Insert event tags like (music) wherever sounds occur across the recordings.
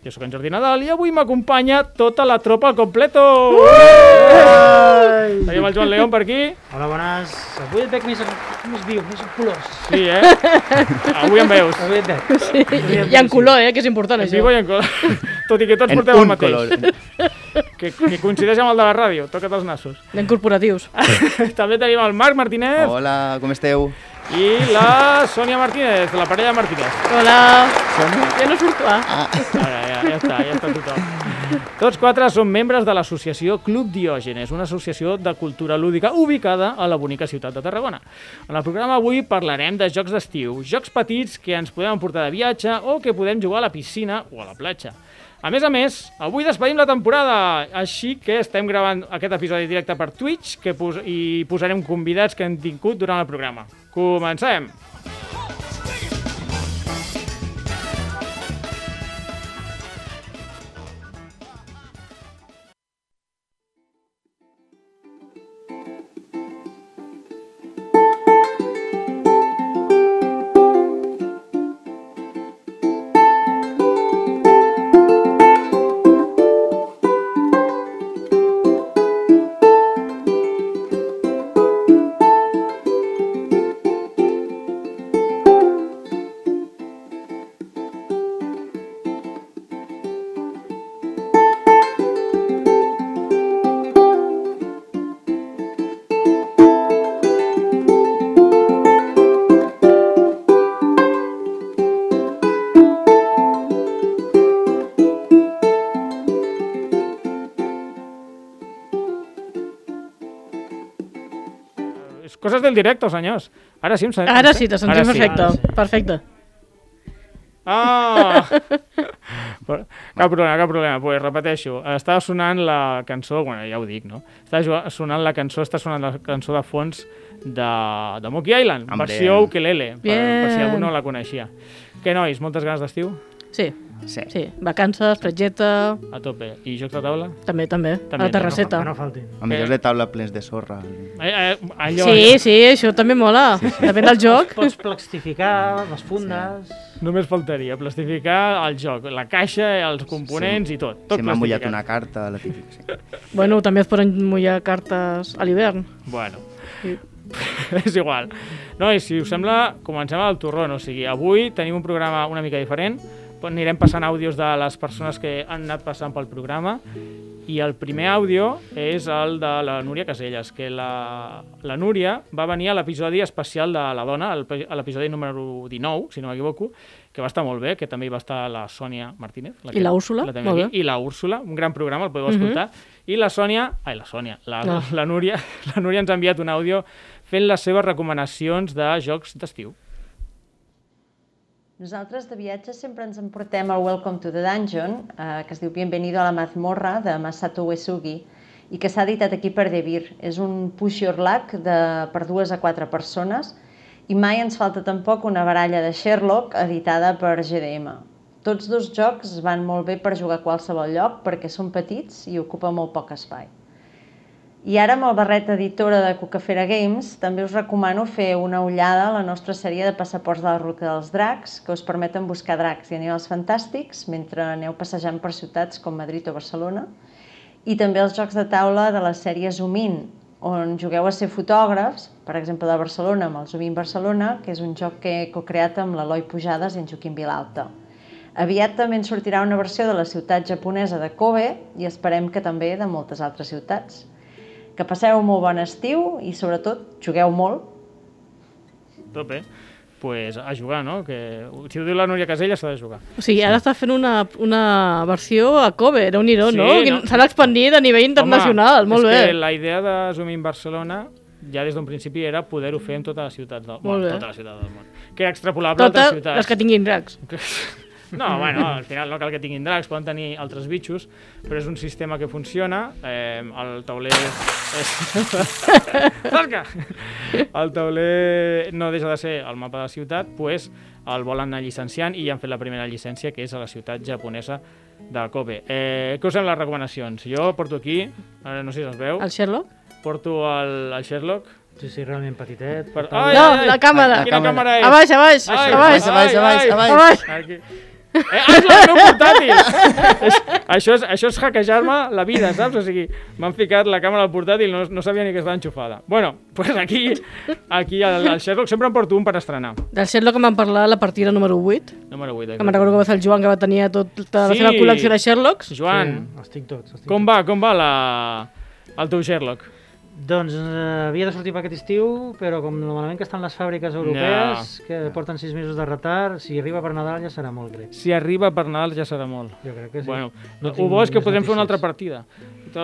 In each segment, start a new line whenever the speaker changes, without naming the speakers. Jo sóc en Jordi Nadal i avui m'acompanya tota la tropa al completo!
Uh!
Uuuuh! Tenim el Joan León per aquí.
Hola, bones. Avui et veig més, més viu, més amb colors.
Sí, eh? Avui em veus.
Avui et veig.
I en color, eh, que és important,
En
això.
vivo i en color.
(laughs)
Tot i que tots portem el mateix. (laughs) Que, que coincideix amb el de la ràdio. Toca't els
(laughs)
nassos.
En corporatius.
També tenim el Marc Martínez
Hola, com esteu?
i la Sònia Martínez, la parella Martínez.
Hola.
Som...
Ja no surto, ah.
Ara, ja, ja està, ja està tothom. Tots quatre són membres de l'associació Club Diògenes, una associació de cultura lúdica ubicada a la bonica ciutat de Tarragona. En el programa avui parlarem de jocs d'estiu, jocs petits que ens podem emportar de viatge o que podem jugar a la piscina o a la platja. A més a més, avui despedim la temporada, així que estem gravant aquest episodi directe per Twitch que pos i posarem convidats que hem tingut durant el programa. Comencem! És coses del directe, senyors. Ara sí em sent...
Ara sí, te sentim
Ara
perfecte. (laughs) Perfecte.
Ah! (laughs) Però- cap problema, cap problema. Pues repeteixo, estava sonant la cançó, bueno, ja ho dic, no? Estava jo- sonant la cançó, està sonant la cançó de fons de, de Monkey Island,
Hombre.
versió ukelele, per, per si
Bien.
algú no la coneixia. Què, nois, moltes ganes d'estiu?
Sí,
Sí.
sí. Vacances, fretgeta...
A tope. I jocs de taula?
També, també.
També,
a la terrasseta.
Que no faltin.
Amb jocs de taula plens de sorra.
Eh, eh, allò,
Sí, sí, això també mola. Depèn del joc.
Pots plastificar les fundes.
Només faltaria plastificar el joc, la caixa, els components sí. i tot. tot
Se m'ha mullat
plastificat.
una carta, la típica. Sí.
Bueno, també es poden mullar cartes a l'hivern.
Bueno,
Sí.
(laughs) és igual. No, i si us sembla, comencem al torrón. O sigui, avui tenim un programa una mica diferent. Anirem passant àudios de les persones que han anat passant pel programa i el primer àudio és el de la Núria Caselles, que la, la Núria va venir a l'episodi especial de la dona, al pe- a l'episodi número 19, si no m'equivoco, que va estar molt bé, que també hi va estar la Sònia Martínez.
I
que-
la Úrsula,
la tenim
molt Mhm.
aquí, I la Úrsula, un gran programa, el podeu escoltar. I la Sònia, ai, la Sònia, la,
No.
la, Núria, (laughs) la Núria ens ha enviat un àudio fent les seves recomanacions de jocs d'estiu.
Nosaltres de viatge sempre ens emportem el Welcome to the Dungeon, eh, que es diu Bienvenido a la mazmorra, de Masato Uesugi, i que s'ha editat aquí per Devir. És un push your luck de, per dues a quatre persones i mai ens falta tampoc una baralla de Sherlock editada per GDM. Tots dos jocs van molt bé per jugar a qualsevol lloc perquè són petits i ocupa molt poc espai. I ara amb el barret editora de Cucafera Games també us recomano fer una ullada a la nostra sèrie de passaports de la Ruta dels Dracs que us permeten buscar dracs i animals fantàstics mentre aneu passejant per ciutats com Madrid o Barcelona i també els jocs de taula de la sèrie Zoom In, on jugueu a ser fotògrafs, per exemple de Barcelona amb el Zoom In Barcelona, que és un joc que he co-creat amb l'Eloi Pujades i en Joaquim Vilalta. Aviat també en sortirà una versió de la ciutat japonesa de Kobe i esperem que també de moltes altres ciutats. Que passeu un molt bon estiu i, sobretot, jugueu molt.
Tope. Pues a jugar, no? Que, si ho diu la Núria Casella, s'ha de jugar.
O sigui, ara està fent una, una versió a Kobe, era un iró,
Sí,
no?
no.
Quin- S'han expandit a nivell internacional, molt
és Que
bé.
la idea de Zoom in Barcelona ja des d'un principi era poder-ho fer en totes les ciutats del món.
Molt bé.
Tota la ciutat del món. Que era extrapolable a
Totes
altres ciutats.
les que tinguin dracs.
(laughs) No, bueno, al final no cal que tinguin dracs, poden tenir altres bitxos, però és un sistema que funciona. Eh, el tauler és... Tosca! el tauler no deixa de ser el mapa de la ciutat, pues el volen anar llicenciant i ja han fet la primera llicència, que és a la ciutat japonesa de Kobe. Eh, què us semblen les recomanacions? Jo porto aquí, ara no sé si es veu,
El Sherlock?
porto el, el Sherlock.
Sí, sí, realment petitet.
Per...
tal.
Ai,
no,
ai,
la càmera.
Quina càmera és?
A baix, a baix, a
Ai,
baix.
ai,
abaix, abaix,
ai.
abaix.
Abaix.
Aquí. Eh, ah, és el meu
(laughs)
portàtil! és, això, és, això és hackejar-me la vida, saps? O sigui, m'han ficat la càmera al portàtil, no, no sabia ni que estava enxufada. Bueno, pues aquí, aquí al, al Sherlock sempre en porto un per estrenar.
Del Sherlock en vam parlar a la partida número 8,
Número 8.
que me'n recordo que va ser el Joan que va tenir tota la
Sí.
seva col·lecció de Sherlocks.
Joan,
Sí, els tinc tots. Els tinc
com va, com va la, el teu Sherlock?
tots. Doncs eh, havia de sortir per aquest estiu, però com normalment que estan les fàbriques europees, que porten sis mesos de retard, si arriba per Nadal ja serà molt greu.
Si arriba per Nadal ja serà molt.
Jo crec que sí.
Bueno,
No
ho
tinc
bo és que
més
podrem fer una altra
notícies. (laughs)
partida. Una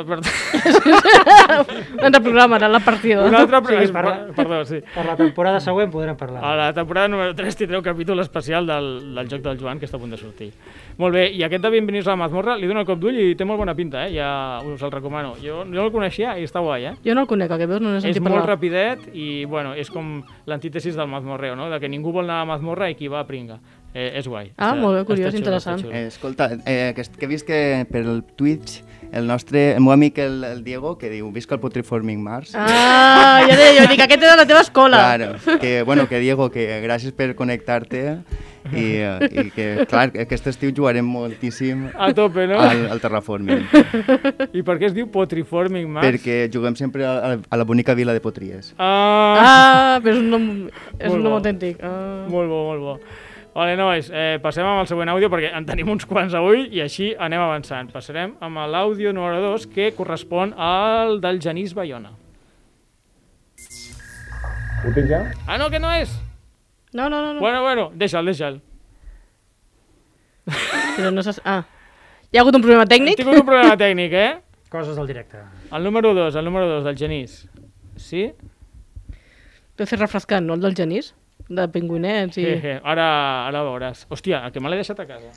altra
Ens reprogramarà la partida.
Sí,
partida.
parla-
Perdó, sí.
Per la temporada següent podrem parlar.
A la temporada número 3 tindreu un capítol especial del, del joc del Joan, que està a punt de sortir. Molt bé, i aquest de Benvenir a la mazmorra li dono el cop d'ull i té molt bona pinta, eh? ja us el recomano. Jo, jo el coneixia i està guai, eh?
Jo no el conec, el que veus no n'he
És
sentit
molt
parlar.
rapidet i, bueno, és com l'antítesis del mazmorreo, no? De que ningú vol anar a la mazmorra i qui va a pringa. Eh, és guai.
Ah, molt bé, curiós,
xulo,
interessant.
xulo.
Eh, escolta, eh, que, est- que he vist que per el Twitch el nostre, el meu amic el, el Diego, que diu visca el Putreforming Mars.
Ah, ja deia, jo dic, aquest era de la teva escola.
Claro, que, bueno, que Diego, que gràcies per connectar-te
(laughs)
i, eh, i que, clar, que aquest estiu jugarem moltíssim
A tope, no?
al, al Terraforming,
(laughs) I per què es diu Potriforming Max?
perquè juguem sempre a, a- a la bonica vila de Potries.
Ah,
Ah, però és un nom, és
Molt
un nom
bo.
autèntic. Ah.
Molt bo, molt bo. Vale, nois, eh, passem amb el següent àudio perquè en tenim uns quants avui i així anem avançant. Passarem amb l'àudio número 2 que correspon al del Genís Bayona.
Ho tinc ja?
Ah, no, que no és!
No, no, no, no.
Bueno, bueno, deixa'l, deixa'l.
Però no saps... Ah. Hi ha hagut un problema
Hem
tècnic?
tingut un problema tècnic, eh?
Coses del directe.
El número 2, el número 2 del Genís. Sí?
Deu ser refrescant, no? El del Genís? De pingüinets i...
Je, je, Ara, ara veuràs. Hòstia, el que me l'he deixat a casa.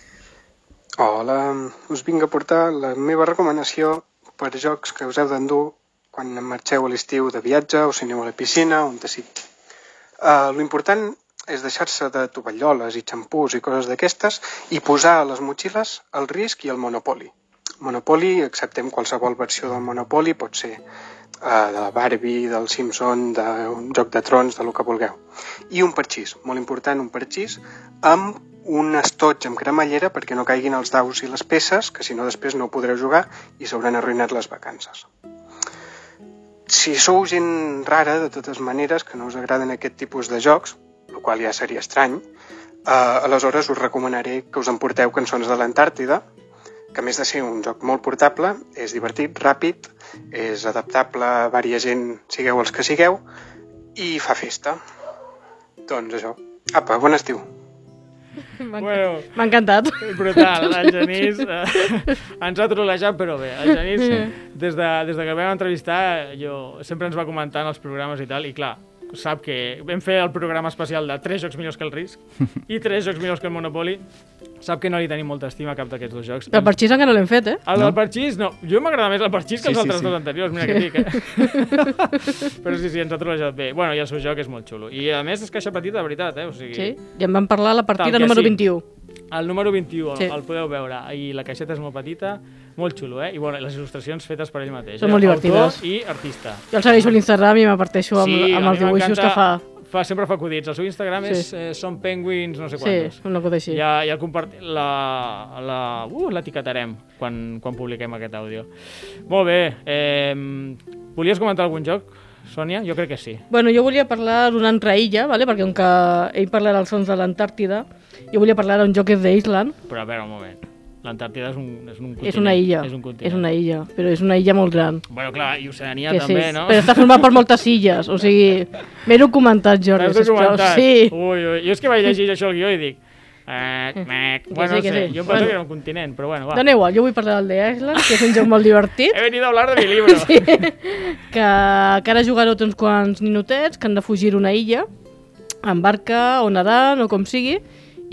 Hola, us vinc a portar la meva recomanació per jocs que us heu d'endur quan marxeu a l'estiu de viatge o si aneu a la piscina o on te sigui. Uh, L'important és deixar-se de tovalloles i xampús i coses d'aquestes i posar a les motxilles el risc i el monopoli. Monopoli, acceptem qualsevol versió del monopoli, pot ser uh, de la Barbie, del Simpson, d'un joc de trons, de lo que vulgueu. I un parxís, molt important, un parxís amb un estoig amb cremallera perquè no caiguin els daus i les peces, que si no després no podreu jugar i s'hauran arruïnat les vacances si sou gent rara, de totes maneres, que no us agraden aquest tipus de jocs, el qual ja seria estrany, eh, aleshores us recomanaré que us emporteu Cançons de l'Antàrtida, que a més de ser un joc molt portable, és divertit, ràpid, és adaptable a vària gent, sigueu els que sigueu, i fa festa. Doncs això. Apa, bon estiu.
M'ha
Bueno,
m'ha encantat.
Brutal, el Genís eh, ens ha trolejat, però bé, el Genís, des, de, des de que el vam entrevistar, jo, sempre ens va comentant els programes i tal, i clar, sap que vam fer el programa especial de 3 jocs millors que el Risk i 3 jocs millors que el Monopoly, sap que no li tenim molta estima a cap d'aquests dos jocs.
El parxís encara no l'hem fet, eh?
El del parxís, no. Jo m'agrada més el parxís que
Sí,
els
sí,
altres
sí.
dos anteriors, mira què dic, eh? (laughs) Però sí, sí, ens ha trolejat bé. Bueno, i el seu joc és molt xulo. I a més és caixa petita, de veritat, eh? O sigui,
Sí. I en vam parlar a la
Tal
partida
que
número
sí.
21.
El número 21, sí.
Sí.
el podeu veure. I la caixeta és molt petita, molt xulo, eh? I bueno, les il·lustracions fetes per ell mateix.
Són
eh?
molt divertides.
Autor i artista.
Jo el segueixo a l'Instagram i m'aparteixo amb,
Sí,
amb
a
els
mi
dibuixos que fa.
m'encanta- Fa sempre fa acudits. El seu Instagram
Sí.
és eh, són penguins, no sé
Sí,
quantos.
una cosa així.
Ja, ja el compart... la, la, uh, l'etiquetarem quan, quan publiquem aquest àudio. Molt bé. Eh, volies comentar algun joc, Sònia? Jo crec que sí.
Bueno, jo volia parlar d'una altra illa, ¿vale? perquè com que ell parla dels sons de l'Antàrtida, jo volia parlar d'un joc que és d'Island,
Però a veure, un moment. L'Antàrtida és un, és un continent.
és una illa,
És un continent.
és una illa, però és una illa molt gran.
Bueno, clar, i Oceania
que
també,
sí,
no?
Però està format
(laughs)
per moltes illes, o sigui, m'he documentat, Jordi,
T'has
sisplau.
documentat?
Sí,
Ui, ui. Jo és que vaig llegir això el guió i dic... Eh, mec.
sí,
Bueno, no
que
sé,
sí.
jo em penso
Bueno.
que era un continent, però bueno, va.
dona igual, jo vull parlar del d'Island, que és un joc molt divertit.
He venido a hablar de mi
(laughs)
libro.
sí. que, que ara jugarà uns quants ninotets que han de fugir a una illa, en barca o nedant o com sigui,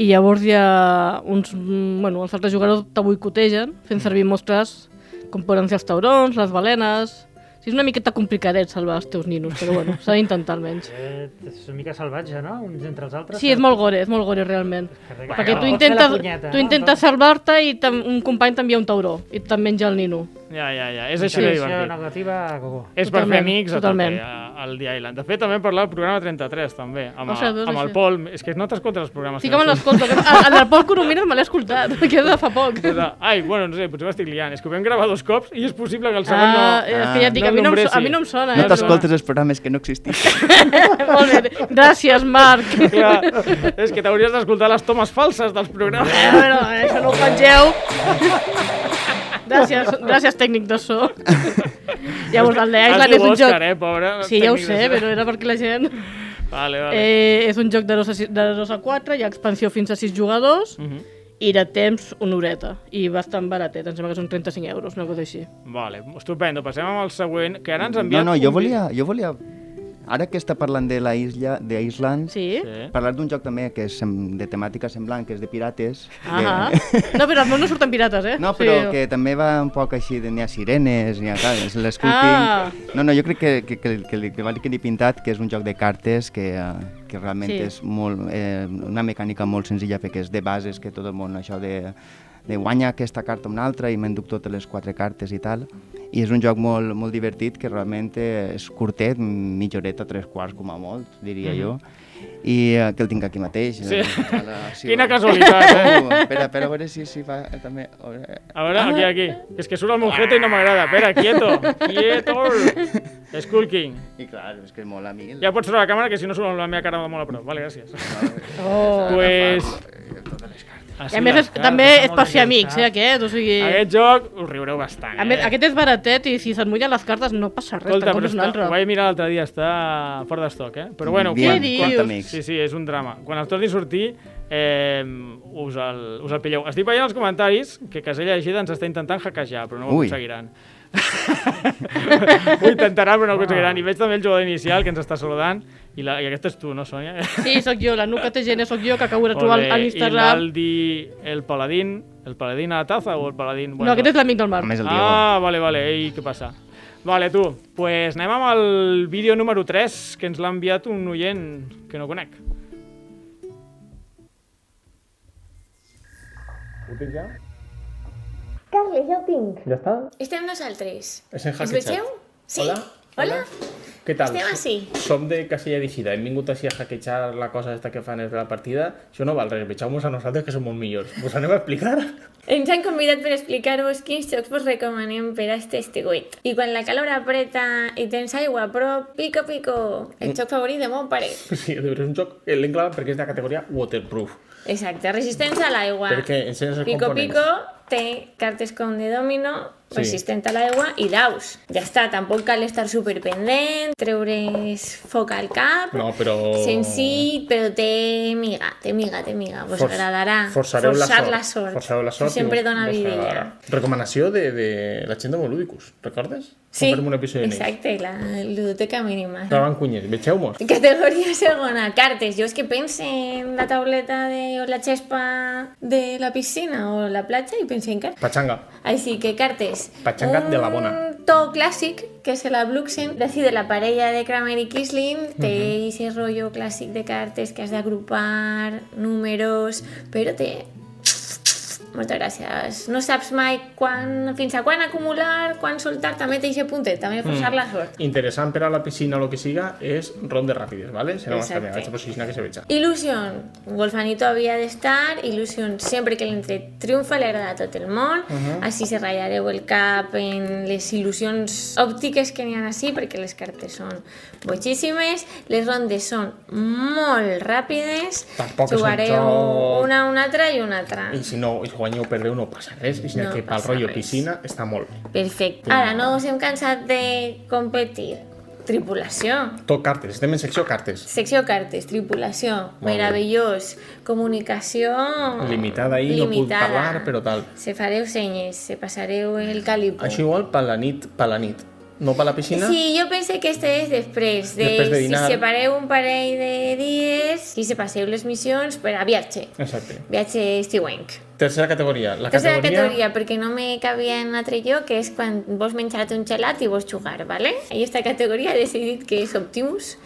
i llavors hi ha uns, mm, bueno, els altres jugadors te boicotegen fent servir mostres com poden ser els taurons, les balenes... O sigui, és una miqueta complicadet salvar els teus ninos, però bueno, s'ha d'intentar almenys.
Eh, és una mica salvatge, no? Uns entre els altres.
Sí, és molt gore, és molt gore realment.
Carrega-
Perquè tu
Pots fer la
intentes,
punyeta,
tu
no?
intentes salvar-te i te- un company t'envia un tauró i te'n menja el nino.
Ja, ja, ja. És així
Sí,
de
sí,
divertit.
negativa a gogo.
És per fer
Totalment,
amics a tope,
totalment.
a- al The Island. De fet, també hem parlat del programa 33, també, amb,
Ostres,
a,
veus
amb el
això?
Pol. És que no t'escoltes els programes.
Sí
que
que me
no
l'escolto, que- el, el del Pol Coromines me l'he escoltat, que és de fa poc.
surten. Ai, bueno, no sé, potser m'estic liant. És que ho vam gravar dos cops i és possible que el segon
Ah,
no...
és que ja et dic,
No
a, mi no em,
nombrés,
so- a mi
sí.
no em sona.
No
eh,
t'escoltes els programes que no existeixen.
però- (laughs) Molt bé, gràcies, Marc.
(laughs) Clar, és que t'hauries d'escoltar les tomes falses dels programes.
Eh, bueno, eh, això no ho pengeu. Gràcies, gràcies tècnic de so. Llavors, el The
Has
Island
dit
és un
Òscar,
joc...
Eh, pobre,
Sí, ja ho
tècnic de
sé,
so.
però era perquè la gent...
Vale, vale.
Eh, és un joc de 2 a, sis- de dos a 4, hi ha expansió fins a 6 jugadors,
Mhm.
i de temps una horeta. I bastant baratet, em sembla que són 35 euros, una cosa així.
Vale, estupendo. Passem amb el següent, que ara ens ha
No,
enviat...
no,
un
jo
vi-
volia, jo volia... Ara que està parlant de la isla, de Island,
Sí? sí.
Sí.
parlar d'un joc també que és sem- de temàtica semblant, que és de pirates.
Ah
que-
No, però al meu no surten pirates, eh?
No, però sí. que també va un poc així, de n'hi ha sirenes, n'hi ha clar, és l'esculping...
Ah.
No, no, jo crec que, que, que, que, li- que val que li he pintat, que és un joc de cartes que, eh, que realment
Sí.
sí. és molt, eh, una mecànica molt senzilla perquè és de bases, que tot el món això de, de guanya aquesta carta o una altra i m'enduc totes les quatre cartes i tal. I és un joc molt, molt divertit que realment eh, és curtet, mitja horeta, tres quarts com a molt, diria mm -hmm. jo. I eh, que el tinc aquí mateix. Sí. A
(laughs)
(laughs)
la,
Quina casualitat, eh?
Oh, espera, espera, a veure si, si va eh, també... a veure,
A veure, aquí,
Ah.
aquí. És que surt el monjete i no m'agrada. Espera, quieto, quieto. Skull King.
I clar, és que mola mil.
Ja pots treure la càmera, que si no surt la meva cara molt a prop. Vale, gràcies.
Oh.
pues...
eh,
Ah,
I a més, és, també és per ser amics, eh, aquest, o sigui...
Aquest joc us riureu bastant,
A més,
eh?
aquest és baratet i si se't mullen les cartes no passa res,
Escolta,
te'n
però
compres un
està,
altre.
ho vaig mirar l'altre dia, està fora d'estoc, eh? Però bueno,
Bien,
Què
quanta
dius?
amics.
Sí, sí, és un drama. Quan els torni a sortir, eh, us, el, us el pilleu. Estic veient als comentaris que Casella Gida ens està intentant hackejar, però no ho
Ui.
aconseguiran. (laughs) ho intentaran, però no ho aconseguiran. I veig també el jugador inicial que ens està saludant. I, la, i aquest és tu, no, Sònia?
Sí, sóc jo, la Nuca TGN sóc jo, que acabo de
Molt
trobar
bé.
a l'Instagram.
Inaldi, el paladín, el paladín a la taza o el paladín...
No, aquest és l'amic del Marc.
Només el Diego.
Ah, vale, vale, ei, què passa? Vale, tu, pues anem amb el vídeo número 3 que ens l'ha enviat un oient que no conec.
Carles, ja ho tinc.
Ja està?
Estem nosaltres.
És en
Us
Hacketchat.
vegeu? Sí.
Hola.
Hola. Este
Què tal?
Estem així.
Som de Casella Digida. Hem vingut així a hackejar la cosa esta que fan entre la partida. Això no val res. Vegeu-nos a nosaltres que som molt millors. Us anem a explicar? (laughs)
Ens han convidat per explicar-vos quins jocs vos recomanem per a este estiuet. I quan la calor apreta i tens aigua a prop, pico pico,
Mm.
el joc favorit de mon pare.
Sí, de veritat, és un joc que l'hem clavat perquè és de la categoria waterproof.
Exacte, resistència a l'aigua.
Perquè ensenyes els
Pico
components.
pico té cartes com de domino,
Sí.
resistent a l'aigua i daus. Ja està, tampoc cal estar superpendent, treure's foc al cap...
No, però...
Senzill, però té miga, té miga, té miga. Vos
Forç-
agradarà.
Forçareu la
Forçar
sort.
la sort.
Forçareu la sort. i
Sempre
vos-
dona
vos
vidilla.
agradarà. Recomanació de, de la gent de Moludicus, recordes?
Sí,
Vam fer un episodi amb ells.
exacte, la ludoteca mínima. (laughs)
Clavan cunyes, vegeu-mos.
Categoria segona, cartes. Jo és que pense en la tauleta de, o la xespa de la piscina o la platja i pense en cartes.
Patxanga.
Així que cartes.
Patxanga
un
de la bona.
to clàssic, que és la Bluxen, d'ací de la parella de Kramer i Kisling,
Mhm.
té ese rotllo clàssic de cartes que has d'agrupar, números, però té... Moltes gràcies. No saps mai quan, fins a quan acumular, quan soltar, també té ese puntet,
Mm.
també forçar la sort.
Interessant per a la piscina o lo que siga és rondes ràpides, ¿vale? Serà més
Exacte.
també, vaig a posicionar pues, que se veja.
Illusion, Wolfanito havia d'estar, Illusion sempre que l'entre triomfa li agrada a tot el món, uh -huh. així se ratllareu el cap en les il·lusions òptiques que n'hi ha així, perquè les cartes són boixíssimes, les rondes són molt ràpides,
Tampoc és un
jugareu
joc-
una, una altra i una altra.
I si no, i si guanyeu o perdeu no passa res, i si
No
no que pel
passa
rotllo
res.
piscina està molt bé.
Perfecte. Ara, no us hem cansat de competir. Tripulació.
Tot cartes, este estem en secció cartes.
Secció cartes, tripulació,
Molt bé.
meravellós, comunicació...
Limitada ahí, no puc
limitada.
parlar, però tal. ¿Ah,
Se fareu senyes, se passareu el calipo.
Això igual per la nit, per la nit. No per la piscina?
Sí, jo pense que este és després. De,
Després de dinar.
Si separeu un parell de dies i separeu les missions per a viatge.
Exacte.
Viatge estiuenc.
Tercera categoria. La
Tercera
categoria...
categoria, perquè no me cabia en altre lloc, que és quan vos menjat un gelat i vos jugar, ¿vale? I esta (laughs) categoria he decidit que és Optimus.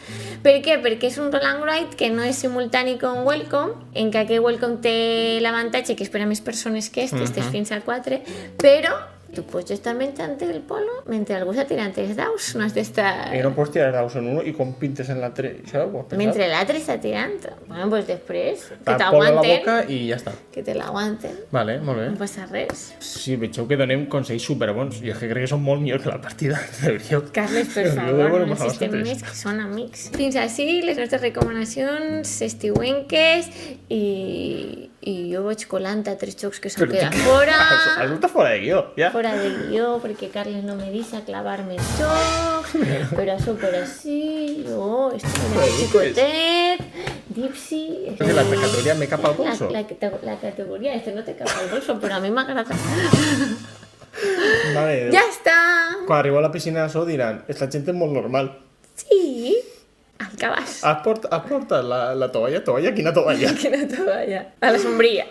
Per què? Perquè és un roll and write que no és simultani com Welcome, en que aquest Welcome té l'avantatge que és per a més persones que este, uh -huh. este és fins a 4, però tu pots estar menjant el polo mentre algú s'ha tirant els daus, no has d'estar...
I no pots tirar daus en un i com pintes en l'altre... Això ho has pensat?
Mentre l'altre està tirant. Bueno, doncs després, que
Tapó-lo a la boca Eh.
t'aguanten,
i ja està.
que te l'aguanten,
Vale, molt bé.
no passa res.
Sí, veieu que donem consells superbons. Jo és que crec que són molt millor que la partida, (laughs) de veritat.
Carles,
(laughs)
per
Déu,
favor,
bueno,
no
per
insistem
vosaltres.
més, que són amics. Fins així les nostres recomanacions estiuenques i, i jo vaig colant a tres jocs que s'han quedat
(laughs)
fora,
Això està fora de guió, ja.
fora de guió, perquè Carles no me deixa clavar-me el joc, però això per així, jo estic en el xicotet, Dipsy... este,
És la categoria me cap al
La,
bolso.
la, cate- la categoria, este no té cap al bolso, però a mi m'agrada.
Vale.
Ja està!
Quan arribo a la piscina de so diran, esta gent és molt normal.
Sí! Al cabàs.
Has portat, has portat la, la toalla? Toalla? Quina toalla?
que no te vaya. (laughs) A la sombrilla.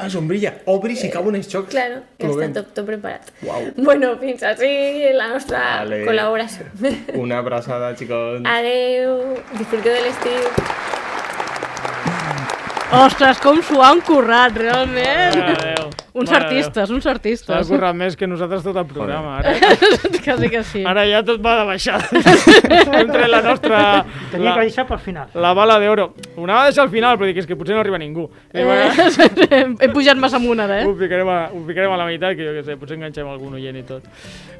Ah, sombrilla. Obris i cauen els xocs.
Claro, ya
Plovent.
está todo, todo preparado.
Guau.
(laughs) Bueno, fins así la nuestra
Vale.
colaboración.
Una abraçada, chicos.
Adeu, disfrute del estío.
Ostres, com s'ho han currat, realment!
Adéu.
Uns
Mare
artistes, uns
Déu. S'ha
artistes.
currat més que nosaltres tot el
(laughs)
programa. Ara,
Quasi que sí.
ara ja tot va de
(laughs)
baixada. Entre la nostra...
Tenia
La,
que deixar pel final.
la bala d'oro. Una va deixar al final, però dic, és que potser no arriba ningú. Eh, bueno,
He pujat massa amunt ara, (laughs)
ho,
eh?
ficarem a, ho ficarem a la meitat, que jo què sé, potser enganxem algun oient i tot.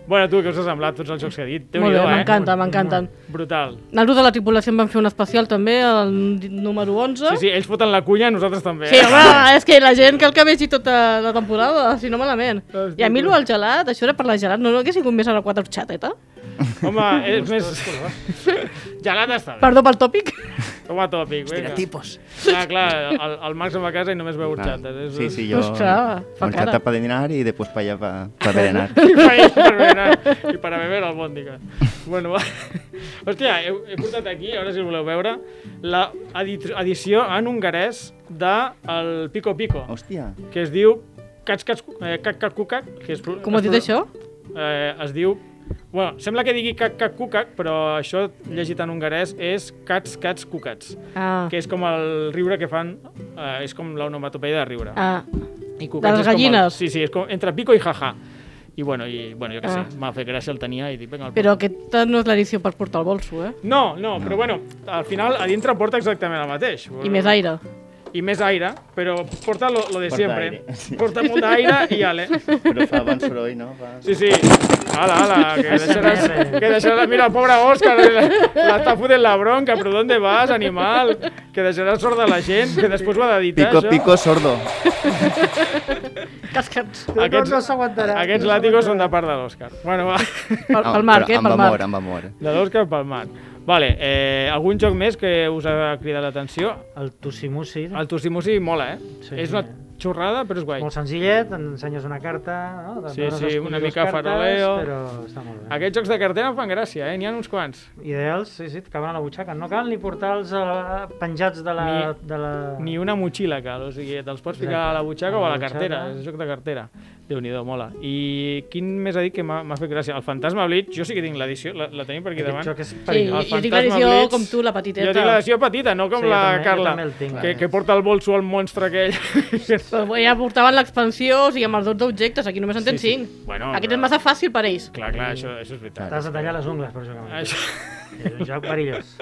Bueno, tu, què us ha semblat tots els jocs que he dit?
Molt bé,
Déu-n'hi-do,
m'encanta, m'encanta.
eh? Brutal.
Nanos de la tripulació en van fer un especial també, el número 11.
Sí, sí, ells foten la cunya, nosaltres també. eh?
Sí, home, és que la gent cal que vegi tota la temporada, si no malament.
Ah,
I a mi lo del gelat, això era per la gelat, no, no hagués sigut més a la 4 xateta?
Home, és més... Gelat està bé.
Perdó pel tòpic.
Com a tòpic. Vinga.
Estereotipos.
Clar, clar, el, el Max va a casa i només veu horxates. És,
Sí, sí,
és-
jo...
Ostres, fa cara.
Monxata pa dinar i després pa allà pa, pa
(laughs)
berenar.
I país per berenar i per a beber al bòndiga. Bueno, va. (laughs) Hòstia, he, he portat aquí, a veure si voleu veure, la edit- edició en hongarès de el Pico Pico,
Hòstia,
que es diu Cats Cats Cu- eh, Cac Cac Cucac. Que és, pro-
Com ho
es
has dit
pro-
això?
Eh, es diu... Bueno, sembla que digui Cac Cac Cucac, però això llegit en hongarès és Cats Cats Cucats.
Ah,
que és com el riure que fan, eh, és com l'onomatopeia de riure.
ah. de les
I cucats és com el-
gallines.
Ah, Sí, sí, és com entre pico i jaja. I bueno, i, bueno jo què
Ah.
sé, m'ha fet gràcia, el tenia i dic, vinga, el
però
porto.
aquesta no és l'edició per portar al bolso, eh?
No, no, però bueno, al final a dintre porta exactament el mateix.
I més aire.
I més aire, però porta lo, lo de
Porta
sempre.
aire, sí.
Porta molt d'aire i ale.
però fa bon soroll, no? Fa...
Sí, sí. Ala, ala, que deixaràs... Que deixaràs mira, pobre Òscar, l'està fotent la bronca, però d'on vas, animal? Que deixaràs sort de la gent, que després ho ha d'editar,
Pico,
això.
pico, sordo.
Cascats.
Aquests-
no s'aguantarà.
Aquests
no
làtigos són de part de l'Òscar. Bueno, va.
Pel,
No,
pel Marc,
però
eh?
Amb
Pel
amor,
Marc.
amb amor.
De l'Òscar pel Marc. Vale, eh, algun joc més que us ha cridat l'atenció?
El tussimussi,
El Tussimussi mola, eh?
Sí.
és una xorrada, però és guai.
molt senzillet, ensenyes una carta, no? De
Sí,
dones
sí,
escollir
una
les
mica
cartes,
faroleo.
Però està molt bé.
Aquests jocs de cartera em fan gràcia, eh? N'hi ha uns quants.
Ideals, sí, sí, et caben a la butxaca. No cal ni portar-los a la- penjats de la...
Ni-
de la...
Ni una motxilla cal, o sigui, te'ls pots
Exacte.
ficar a la butxaca
A
o
la
a la cartera.
butxaca.
És joc de cartera. déu nhi mola. I quin més ha dit que m'ha m'ha fet gràcia? El Fantasma Blitz, jo sí que tinc l'edició, la, la tenim per aquí
Aquest
davant.
joc és
Sí,
perillós.
El
jo tinc
fantasma
l'edició
Blitz.
com tu, la
Jo tinc
petiteta.
l'edició petita, no com
Sí, jo
la
també- jo
Carla,
també el tinc.
que, que porta el bolso al
(laughs)
monstre aquell.
Però ja portaven l'expansió, o sigui, amb els 12 objectes, aquí només en tens
Sí, sí.
5.
Bueno,
Aquest
però-
és massa fàcil per ells.
clar, clar, això, això és veritat.
T'has de tallar les ungles, per això.
Això...
És un joc perillós.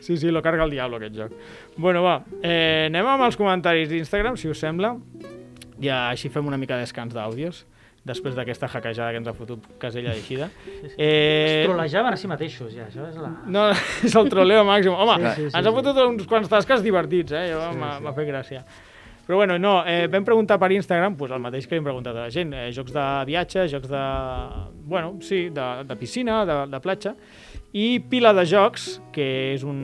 Sí, sí, lo carga el diablo, aquest joc. Bueno, va, eh, anem amb els comentaris d'Instagram, si us sembla. I així fem una mica de descans d'àudios, després d'aquesta hackejada que ens ha fotut Casella d'eixida.
Es
Eh,
trolejaven a si mateixos, ja. Això és la...
no, (laughs) és el troleo màxim. Home,
Sí, sí, sí,
ens ha
sí.
fotut uns quants tasques divertits, eh? Jo, M'ha m'ha fet gràcia. Però bueno, no, eh, vam preguntar per Instagram pues, el mateix que hem preguntat a la gent. Eh, jocs de viatge, jocs de... Bueno, sí, de, de piscina, de, de platja. I Pila de Jocs, que és un,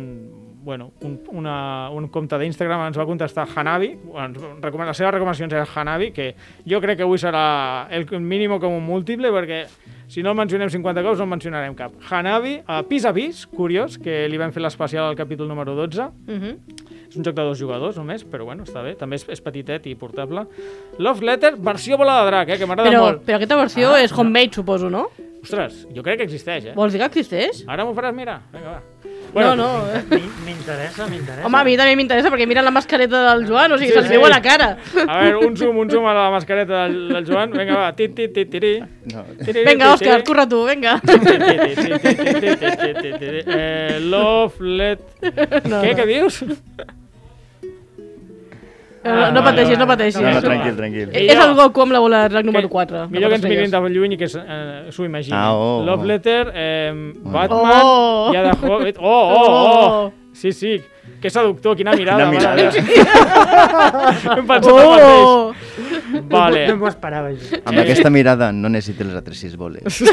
bueno, un, una, un compte d'Instagram ens va contestar Hanabi, ens recomana- les seves recomanacions eren Hanabi, que jo crec que avui serà el mínimo com un múltiple, perquè Si no el mencionem 50 cops, no en mencionarem cap. Hanabi, a pis a pis, curiós, que li vam fer l'especial al capítol número 12.
Mm-hmm.
És un joc de dos jugadors només, però bueno, està bé. També és, és petitet i portable. Love Letter, versió bola de drac, eh, que m'agrada
Però,
molt. Ah,
però aquesta versió és homemade, suposo, no?
Ostres, jo crec que existeix, eh?
Vols dir que existeix?
Ara m'ho faràs mirar. Vinga, va.
no, no.
Mi- M'interessa, m'interessa.
Home, a mi també m'interessa perquè mira la mascareta del Joan, o sigui,
Ah. Sí,
se'ls
sí.
veu a la cara.
A veure, un zoom, un zoom a la mascareta del, del Joan. Vinga, va, tit, tit, tit, tiri.
No.
Tiri,
Vinga,
tiri,
Òscar,
tiri.
corre tu, vinga.
Eh, Love Let... Què, què dius?
No,
Ah,
no pateixis, no pateixis.
No, no, tranquil, tranquil.
És el Goku amb la bola de drac número 4.
eh, Millor que ens mirin de lluny i que s- eh, s'ho imaginin.
Ah, oh, oh.
Love Letter, eh, Batman
Oh.
i Ada Hobbit. Oh, oh, oh! Sí, sí. Que seductor, quina mirada.
Quina
mare
mirada.
de Déu. (laughs) Hem pensat el mateix.
Oh!
Vale.
No m'ho esperava jo.
Amb aquesta mirada no necessito les altres sis boles.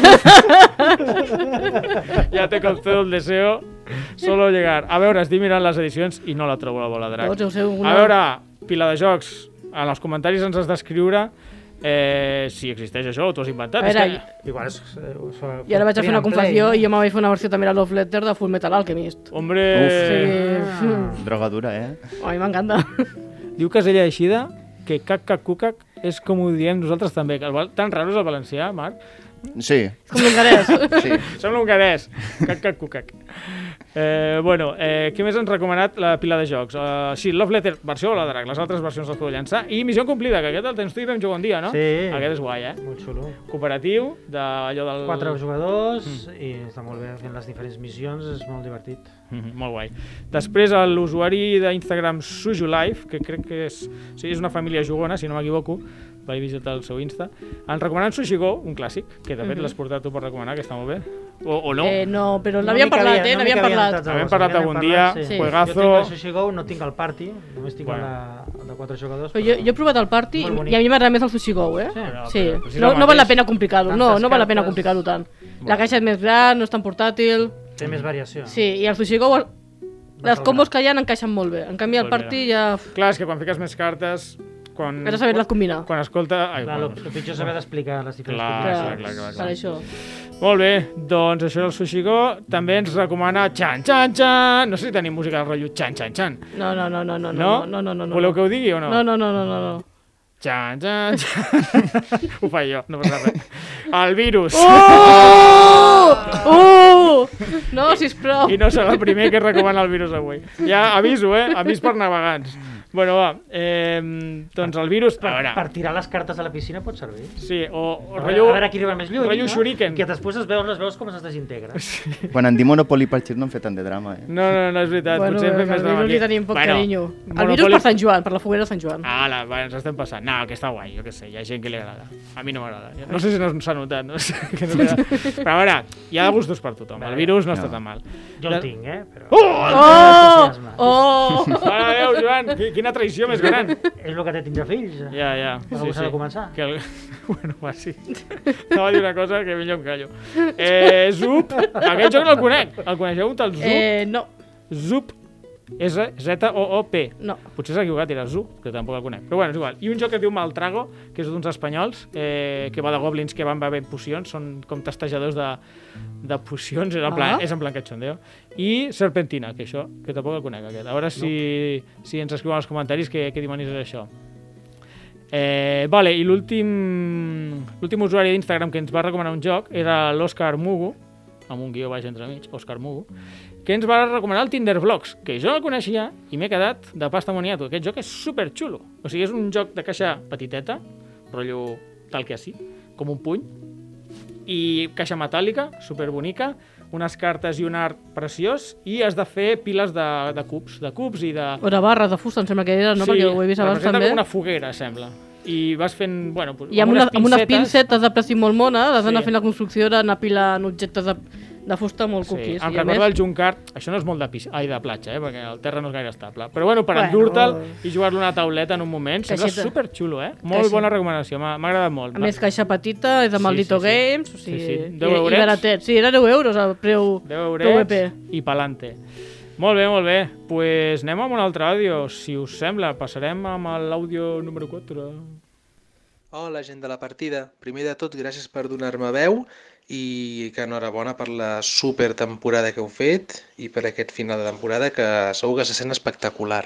Ya te concedo el deseo. Solo llegar. A veure, estic mirant les edicions i no la trobo la bola de drac.
Doncs deu ser alguna-
A veure, pila de jocs, en els comentaris ens has d'escriure eh, si existeix això o t'ho has
A
inventat.
veure,
És que-
Igual és... eh, us-
i ara vaig a fer una
Free and
confessió
play.
i jo me vaig fer una versió també de Love Letter de Full Metal Alchemist.
Hombre,
Eh,
Ah, Droga dura, eh?
a mi m'encanta. (laughs)
diu Casella Eixida que cac cac cucac és com ho diem nosaltres també. que el val- Tan raro és el valencià, Marc.
Sí,
És com l'hongarès.
sí.
Sembla hongarès. Cac, cac, cucac. Eh, bueno, eh, què més ens ha recomanat la pila de jocs? Uh, sí, Love Letter, versió Bola de Drac, les altres versions les podeu llançar. I Missió Complida, que aquest el tens tu i vam jugar un dia, no?
Sí.
Aquest és guai, eh?
Molt xulo.
Cooperatiu, d'allò del...
Quatre jugadors
Mm.
i està molt bé fent les diferents missions, és molt divertit.
Mhm, Molt guai. Després l'usuari d'Instagram Sujulife, que crec que és, sí, és una família jugona, si no m'equivoco, vaig visitar el seu Insta, ens recomanant Sushi Go, un clàssic, que de fet l'has portat tu per recomanar, que està molt bé. O, o no.
Mhm. Eh, no, però l'havíem parlat, eh? N'havíem parlat.
N'havíem parlat algun dia,
Sí.
juegazo.
Jo tinc el Sushi Go, no tinc el Party, només tinc
Bueno.
bueno. el, de, el de quatre jugadors.
Però jo, jo he provat el party
Molt bonic.
i a mi m'agrada més el sushi go, eh?
Sí. Però-
Sí,
però si és
no,
el
no val la
mateix.
pena complicar-ho, no,
Tantes
no val la pena
cartes.
complicar-ho tant. La caixa és més gran, no és tan portàtil,
Té més variació.
sí, i el sushi go, les
Resolgar.
combos que hi ha encaixen molt bé. En canvi, el
Doncs
party ja...
Clar, és que quan fiques més cartes... Quan,
Has de saber-les combinar.
Quan escolta... Ai,
Clar,
bueno,
el, el pitjor és haver d'explicar les diferents
Clar,
Clar,
Ah, clar, clar, clar.
per això.
Molt bé, doncs això era el Sushi Go. També ens recomana Chan Chan Chan. No sé si tenim música del rotllo Chan Chan Chan.
No, no, no, no, no, no,
No?
no, no, no, no.
Voleu que ho digui o no?
No, no, no, no, no, no.
Chan Chan Chan. (laughs) ho faig jo, no passa res. El virus.
Oh! No, sisplau.
I no serà el primer que recomana el virus avui. Ja aviso, eh? Avís per navegants. Bueno, va. Eh, doncs el virus... A
Per
veure,
tirar les cartes a la piscina pot servir.
sí, o, o
A veure,
rotllo...
a veure qui arriba més lluny.
rotllo shuriken.
Que després es veus, les veus com es desintegra. Sí.
Quan en dic Monopoly per xir no hem fet tant de drama, eh?
No, no, no, és veritat.
Bueno, el
Potser hem fet més drama
virus
aquí.
li tenim poc carinyo. El virus
Monopoli-
per Sant Joan, per la foguera de Sant Joan.
Ala, va, ens estem passant. No, que està guai, jo què sé, hi ha gent que li agrada. A mi no m'agrada. No sé si no s'ha notat, no sé. Que no m'agrada. Però a veure, hi ha gustos per tothom. El virus no, està tan mal.
Jo
La-
el tinc, eh? Però... Oh!
Oh!
oh!
Oh!
Mare de Déu, Joan, qui- quina traïció més gran.
(laughs) És el que té tindre fills. Yeah.
Ja, ja.
Algú s'ha de començar.
Que el... (laughs) Bueno, va, sí. Estava a dir una cosa que millor em callo. Eh, Zup, aquest joc no el conec. El coneixeu, un tal Zup?
Eh, no,
Zup, Z- Z-O-O-P.
no.
Potser s'ha equivocat, era Zup, que tampoc el conec. Però bueno, és igual. I un joc que es diu Maltrago, que és d'uns espanyols, eh, que va de goblins que van bevent pocions, són com testejadors de, de pocions, és en plan,
Ah.
és en plan catxondeo. I Serpentina, que això, que tampoc el conec aquest. A veure si, si ens escriuen als comentaris què, què dimonis és això. Eh, vale, i l'últim l'últim usuari d'Instagram que ens va recomanar un joc era l'Òscar Mugu, amb un guió baix entre mig, Òscar Mugu, que ens va recomanar el Tinder Vlogs, que jo no el coneixia i m'he quedat de pasta moniato. Aquest joc és superxulo. O sigui, és un joc de caixa petiteta, rotllo tal que així, com un puny, i caixa metàl·lica, superbonica, unes cartes i un art preciós, i has de fer piles de, de cubs, de cubs i de...
O de barres de fusta, em sembla que era, no? Perquè ho he vist abans
representa
també.
com una foguera, sembla. I vas fent, bueno, pues,
I amb, una, amb unes
pincetes-
pincetes de plàstic molt mona, les
Sí.
sí. d'anar fent la construcció, d'anar pilant objectes de, de fusta molt
Sí,
cuquis.
em
I a més,
recorda el Junkart, això no és molt de, pis, ai, de platja, eh? perquè el terra no és gaire estable, però bueno, per
Bueno.
endur-te'l i xugar-lo a una tauleta en un moment, sembla
Caixeta.
superxulo, eh? Molt
Caixa.
bona recomanació, m'ha m'ha agradat molt.
a més, caixa petita, és de
Sí,
Maldito
sí, sí.
Games, o sigui,
Sí, sí.
i-
Deu
i,
eurets.
baratet. Sí, era 10 euros el preu
10 eurets
PVP.
i pelante. Molt bé, molt bé. Doncs pues anem amb un altre àudio, si us sembla. Passarem amb l'àudio número 4.
Hola, gent de la partida. Primer de tot, gràcies per donar-me veu i que enhorabona per la super temporada que heu fet i per aquest final de temporada que segur que se sent espectacular.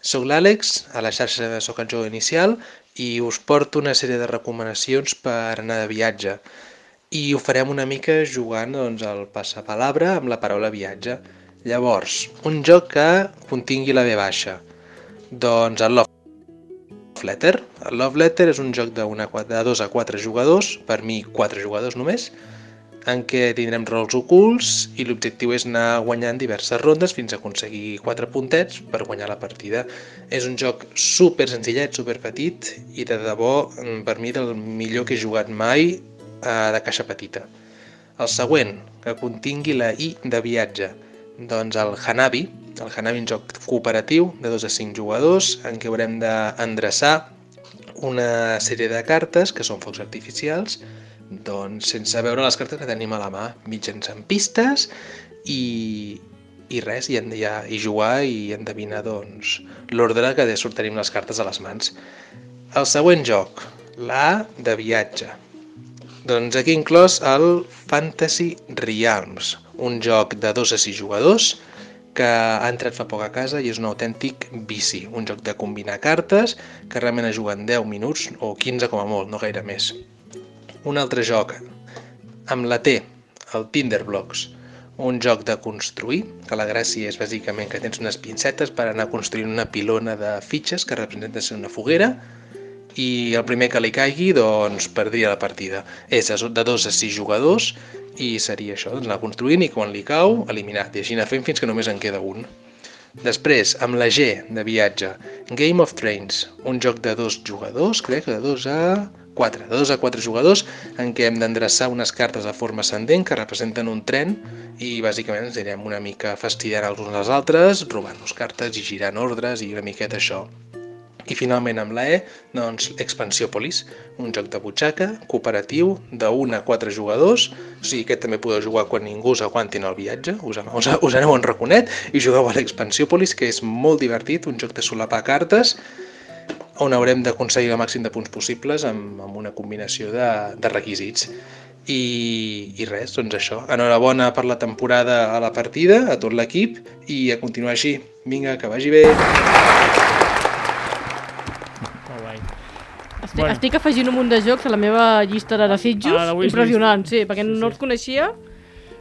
Soc l'Àlex, a la xarxa Soc el jove inicial i us porto una sèrie de recomanacions per anar de viatge. I ho farem una mica jugant doncs, al passapalabra amb la paraula viatge. Llavors, un joc que contingui la V baixa. Doncs el Love Letter. El Love Letter és un joc de, una, de dos a quatre jugadors, per mi quatre jugadors només, en què tindrem rols ocults i l'objectiu és anar guanyant diverses rondes fins a aconseguir 4 puntets per guanyar la partida. És un joc super senzillet, super petit i de debò mm, per mi del millor que he jugat mai eh, de caixa petita. El següent, que contingui la I de viatge, doncs el Hanabi. El Hanabi és un joc cooperatiu de 2 a 5 jugadors en què haurem d'endreçar una sèrie de cartes que són focs artificials doncs sense veure les cartes que tenim a la mà, mitjançant pistes i, i res, i, en- i, a- i jugar i endevinar doncs, l'ordre que de sort tenim les cartes a les mans. El següent joc, l'A de viatge. Doncs aquí inclòs el Fantasy Realms, un joc de 2 a 6 jugadors que ha entrat fa poc a casa i és un autèntic vici, un joc de combinar cartes que realment es juga en 10 minuts o 15 com a molt, no gaire més un altre joc amb la T, el Tinderblocks, un joc de construir, que la gràcia és bàsicament que tens unes pincetes per anar construint una pilona de fitxes que representen ser una foguera i el primer que li caigui doncs perdria la partida. És de de dos a sis jugadors i seria això, doncs anar construint i quan li cau eliminar, i així anar fent fins que només en queda un. Després, amb la G de viatge, Game of Trains, un joc de dos jugadors, crec que de dos a 4, de dos a 4 jugadors, en què hem d'endreçar unes cartes de forma ascendent que representen un tren i bàsicament ens anirem una mica fastidant els uns als altres, robant-nos cartes i girant ordres i una miqueta això. I finalment amb la E, doncs Expansiòpolis, un joc de butxaca, cooperatiu, de 1 a 4 jugadors, o sigui que també podeu jugar quan ningú us aguanti en el viatge, us, us, us aneu en raconet i jugueu a l'Expansiòpolis, que és molt divertit, un joc de solapar cartes, on haurem d'aconseguir el màxim de punts possibles amb, amb una combinació de, de requisits. I, I res, doncs això. Enhorabona per la temporada a la partida, a tot l'equip, i a continuar així. Vinga, que vagi bé!
Molt guai.
Estic,
Bueno.
bueno. estic afegint un munt de jocs a la meva llista de desitjos.
Ah, la wishlist.
Impressionant, sí, perquè no els coneixia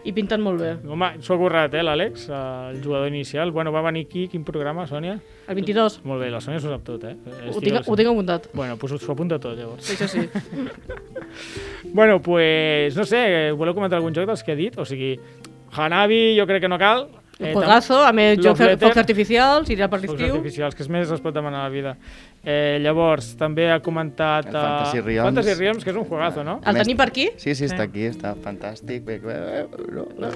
i pinten molt bé.
Home, s'ho ha currat, eh, l'Àlex, el jugador inicial. Bueno, va venir aquí, quin programa, Sònia?
El 22.
Molt bé, la Sònia s'ho sap tot, eh?
Ho tinc, ho tinc apuntat.
Bueno, doncs s'ho apunta tot, llavors.
Sí, això sí.
Bueno, pues, no sé, voleu comentar algun joc dels que he dit? O sigui, Hanabi jo crec que no cal.
Un
tam-
juegazo, a més,
Love
jocs
Letter.
focs artificials, irà per
Focs
l'estiu.
artificials, que és més es pot demanar a la vida. Eh, llavors, també ha comentat...
El
eh,
Fantasy Realms.
Fantasy Realms, que és un juegazo, no?
El tenim per aquí?
Sí, sí, està aquí, està fantàstic. Bé, bé, bé, no, no.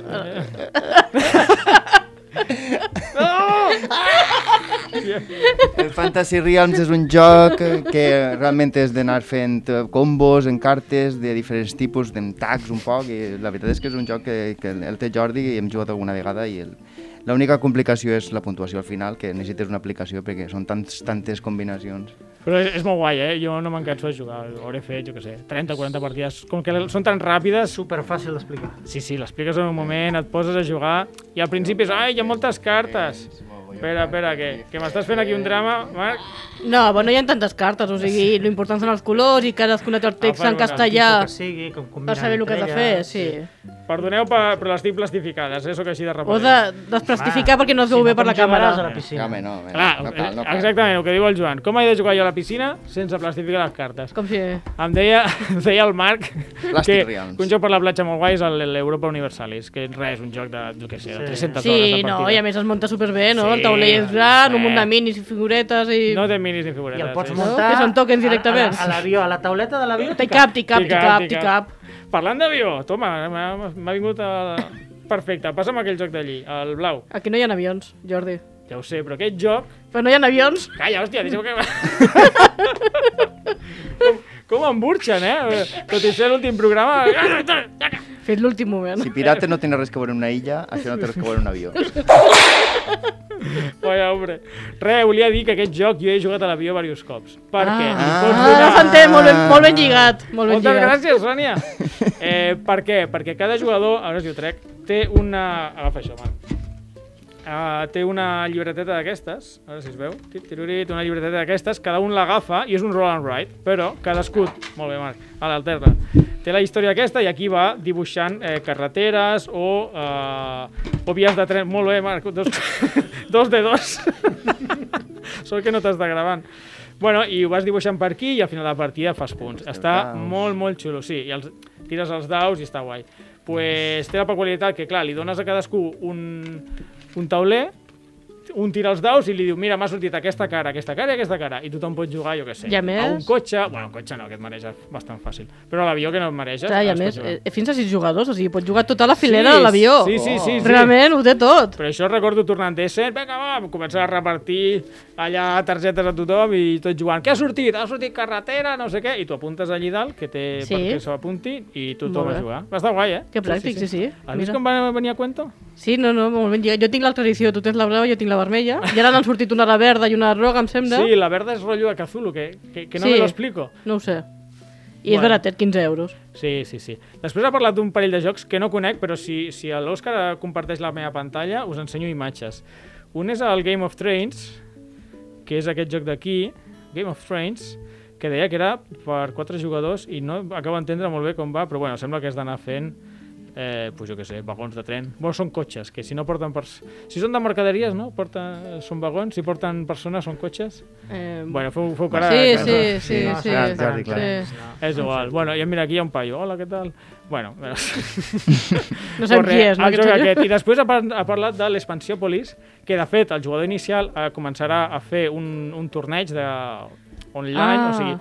El Fantasy Realms és un joc que realment és d'anar fent eh, combos en cartes de diferents tipus, d'en tags un poc, i la veritat és que és un joc que, que el té Jordi i hem jugat alguna vegada i el, L'única complicació és la puntuació al final, que necessites una aplicació perquè són tants, tantes combinacions.
Però és, és molt guai, eh? Jo no me'n canso de jugar. Ho Hauré fet, jo què sé, 30 40 partides. Com que són tan ràpides...
Super fàcil d'explicar.
Sí, sí, l'expliques en un moment, et poses a jugar i al principi és... Ai, hi ha moltes cartes! Espera, espera, que, que m'estàs fent aquí un drama, Marc.
No, però no hi ha tantes cartes, o sigui, l'important són els colors i cadascuna té el text
Ah,
en
bueno,
castellà
Que sigui, com
per saber el que has de fer, sí.
Perdoneu, per, però les tinc plastificades, eh? Sóc així de
O
repetidor.
de desplastificar perquè no es veu bé per la càmera.
A la
Ja,
piscina.
home, no, home,
Clar,
no cal, no
eh,
cal.
exactament el que diu el Joan. Com he de jugar jo a la piscina sense plastificar les cartes?
Com si...
Em deia, (laughs) em deia el Marc que,
Plastic Realms.
que un joc per la platja molt guai és el- l'Europa Universalis, que res, un joc de, jo què sé, de 300 hores
Sí,
de
no,
partida.
i a més es munta superbé, no?
Sí,
El tauler és gran, un munt de
eh.
minis i figuretes i...
No té minis ni
I
figuretes. eh?
el pots
sí.
muntar...
Que són tòquens directament.
A, a l'avió, a la tauleta de l'avió.
Té cap, té cap, té cap, té cap.
Parlant d'avió, toma, m'ha m'ha vingut a... Perfecte, passa'm aquell joc d'allí, el blau.
Aquí no hi ha avions, Jordi.
Ja ho sé, però aquest joc...
Però no hi ha avions.
Calla, hòstia, deixa'm que... (laughs)
(laughs)
com, com em burxen, eh? Tot i ser l'últim programa...
Fet l'últim moment.
Si pirata no tiene res que veure en una illa, això no té res que veure en un avió.
Vaja, hombre. Re, volia dir que aquest joc jo he jugat a l'avió diversos cops. Perquè
Ah.
ah. pots
Ah, ara
donar...
s'entén, molt, ben, molt ben lligat. Molt ben
Moltes
lligat.
gràcies, Sònia. Eh, per què? Perquè cada jugador, a veure si ho trec, té una... Agafa això, man. Uh, té una llibreteta d'aquestes, a veure si es veu, Tit, tirurit, una llibreteta d'aquestes, cada un l'agafa i és un roll and write, però cadascú, molt bé Marc, a l'alterna, té la història aquesta i aquí va dibuixant eh, carreteres o, eh, o vies de tren, molt bé Marc, dos, dos de dos. (laughs) Sort que no t'està gravant. Bueno, i ho vas dibuixant per aquí i al final de la partida fas punts. Està
daus.
molt, molt xulo, sí. I els, tires els daus i està guai. Pues té la peculiaritat que, clar, li dones a cadascú un, un tauler, un tira els daus i li diu, mira, m'ha sortit aquesta cara, aquesta cara i aquesta cara. I tothom pot jugar, jo què sé,
I a més-
a un cotxe... Bueno, un cotxe no, que et mareja bastant fàcil. Però a l'avió que no et mareges...
Clar, I a
es pot
més,
jugar.
eh, fins a sis jugadors, o sigui, pot jugar tota la filera
Sí,
de l'avió.
sí, sí, sí, sí.
Realment, ho té tot.
Però això recordo tornant d'Essen, vinga, va, començar a repartir allà targetes a tothom i tot jugant. Què ha sortit? Ha sortit carretera, no sé què. I tu apuntes allí dalt, que té
Sí.
sí. perquè s'ho apunti, i tothom
Molt
a
bé.
jugar. Va estar guai, eh?
Que pràctic, sí, sí.
Has
Mira.
vist com va venir a cuento?
Sí, no, no, molt ben lligat. Jo tinc l'altra edició, tu tens la blava, jo tinc la vermella. I ara n'han sortit una de verda i una de groga, em sembla.
Sí, la verda és rotllo de Cthulhu, que, que, que no
Sí.
me lo explico.
No ho sé. I és
Bueno.
baratet, 15 euros.
Sí, sí, sí. Després ha parlat d'un parell de jocs que no conec, però si, si l'Òscar comparteix la meva pantalla, us ensenyo imatges. Un és el Game of Trains, que és aquest joc d'aquí, Game of Trains, que deia que era per quatre jugadors i no acabo d'entendre molt bé com va, però bueno, sembla que has d'anar fent eh, pues jo què sé, vagons de tren. Bueno, són cotxes, que si no porten... Pers si són de mercaderies, no? Porten, són vagons, si porten persones, són cotxes.
Eh,
Bueno, feu, feu cara...
sí,
cara-
sí, sí,
no,
sí.
clar, Jordi, clar.
sí.
és igual. Bueno, i mira, aquí hi ha un paio. Hola, què tal? Bueno, (laughs) Ah,
No sabem qui és, no,
el
aquest
joc
senyor.
aquest. I després ha, par ha parlat de l'Expansiòpolis, que de fet el jugador inicial eh, començarà a fer un, un torneig de online,
Ah.
o sigui,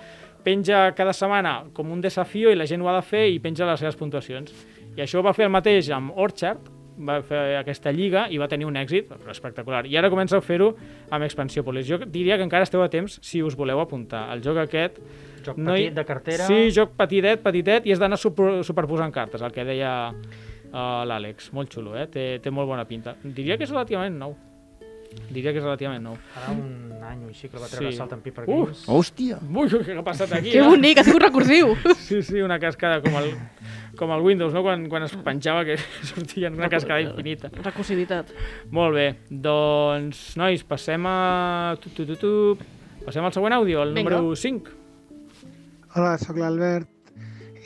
penja cada setmana com un desafió i la gent ho ha de fer i penja les seves puntuacions. I això ho va fer el mateix amb Orchard, va fer aquesta lliga i va tenir un èxit però espectacular. I ara comença a fer-ho amb Expansiòpolis. Jo diria que encara esteu a temps si us voleu apuntar. El joc aquest
Joc
no
petit, de cartera.
Sí, joc petitet, petitet, i has d'anar super, superposant cartes, el que deia uh, l'Àlex. Molt xulo, eh? Té, té molt bona pinta. Diria que és relativament nou. Diria que és relativament nou.
Farà un any o així que la va treure
Sí.
sí. Salt and Paper
Uh!
Games.
Hòstia!
Ui, què ha passat aquí?
Que
eh?
bonic, ha sigut recursiu.
(laughs) Sí, sí, una cascada com el, com el Windows, no? Quan, quan es penjava que (laughs) sortia una cascada infinita.
Recursivitat.
Molt bé, doncs, nois, passem a... Tu, tu, tu, tu. Passem al següent àudio, el
Vinga.
número 5.
Hola, sóc l'Albert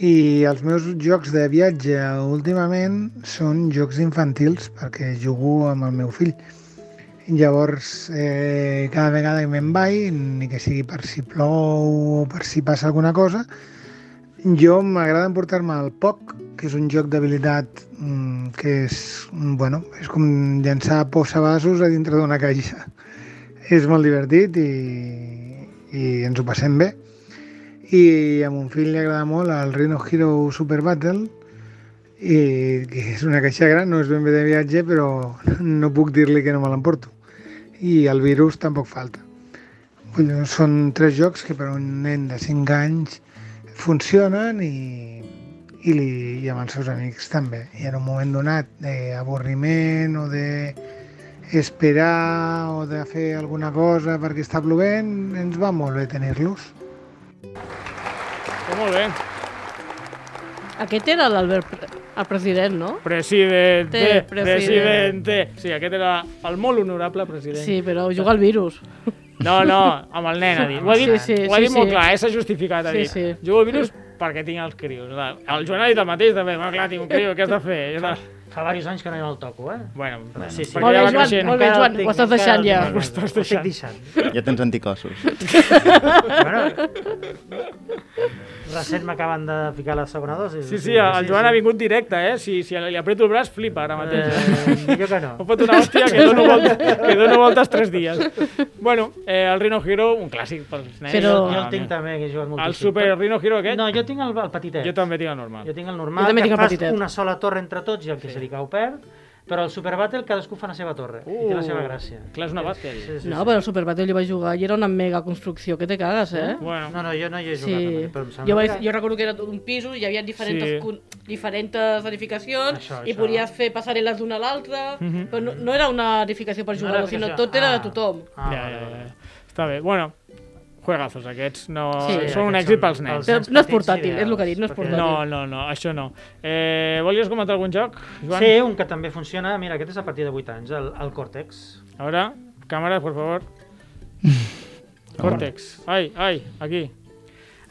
i els meus jocs de viatge últimament són jocs infantils perquè jugo amb el meu fill. Llavors, eh, cada vegada que me'n vaig, ni que sigui per si plou o per si passa alguna cosa, jo m'agrada emportar-me el POC, que és un joc d'habilitat mm, que és, mm, bueno, és com llançar posavasos a dintre d'una caixa. És molt divertit i, i ens ho passem bé i a mon fill li agrada molt el Rhino Hero Super Battle i que és una caixa gran, no és ben bé de viatge però no puc dir-li que no me l'emporto i el virus tampoc falta Vull dir, són tres jocs que per a un nen de 5 anys funcionen i, i, li, i amb els seus amics també i en un moment donat d'avorriment o de esperar o de fer alguna cosa perquè està plovent ens va molt bé tenir-los
Oh, molt bé.
Aquest era l'Albert, pre- el president, no?
Presidente,
Te, president.
presidente. Sí, aquest era el molt honorable president.
Sí, però juga al virus.
(laughs) No, no, amb el nen ha dit. Ho ha dit,
Sí, sí,
ho ha
sí,
dit molt
sí.
clar, eh? s'ha justificat. Ha
Sí,
dit.
sí.
Jugo al virus perquè tinc els crios. clar. El Joan ha dit el mateix també, bueno, clar, tinc un crio, què has de fer? I tal.
Fa diversos anys que no hi el toco, eh?
Bueno,
Sí, sí.
perquè
Molt bé,
ja va
Joan,
creixent.
molt bé,
Encara el
Joan,
tinc,
ho estàs
encara
deixant
el
ja.
tinc,
Ho estàs
estic
deixant.
Ja tens (laughs) anticossos.
bueno, (laughs) recent m'acaben de ficar la segona dosi.
Sí, sí, el Joan ha vingut directe, eh? Si, si li apreto el braç, flipa ara mateix.
Eh, millor que
Em
no.
fot una hòstia que dono, voltes, que dono voltes tres dies. Bueno, eh, el Rhino Hero, un clàssic pels nens.
Però-
Ah,
Jo el tinc
mira.
també, que he jugat moltíssim.
El Super Rhino Hero aquest?
No, jo tinc el, el petitet.
Jo també tinc el normal.
Jo tinc el normal,
Jo també
que
tinc el
fas
petitet.
una sola torre entre tots i el que sí. se li cau perd. Però el Super Battle cadascú fa la seva torre. Uh, I té la seva gràcia.
Clar, és una battle. Sí,
Sí, no, però el Super Battle jo vaig jugar i era una mega construcció, que te cagues, eh?
Bueno.
No, no, jo no hi he jugat.
Sí.
Però em sembla
Jo, vaig,
que-
jo recordo que era tot un pisos i hi havia diferents,
Sí.
sí. diferents edificacions
Això,
i
això.
podies fer passarel·les d'una a l'altra,
Mhm.
però no, no era una edificació per
No
jugador,
era
sinó
edificació.
tot era de
Ah.
tothom.
ja, ja, ja. Està bé, bueno, juegazos aquests, no...
Sí. Sí,
són un
aquests
èxit
són
pels
pels
nens.
Però nens no és petits portàtil, ideals, és el que he dit, no és perquè- portàtil.
No, no, no, això no. Eh, volies comentar algun joc, Joan?
Sí, un que també funciona, mira, aquest és a partir de 8 anys, el, el Cortex.
A veure, càmera, por favor. Cortex. Ai, ai, aquí.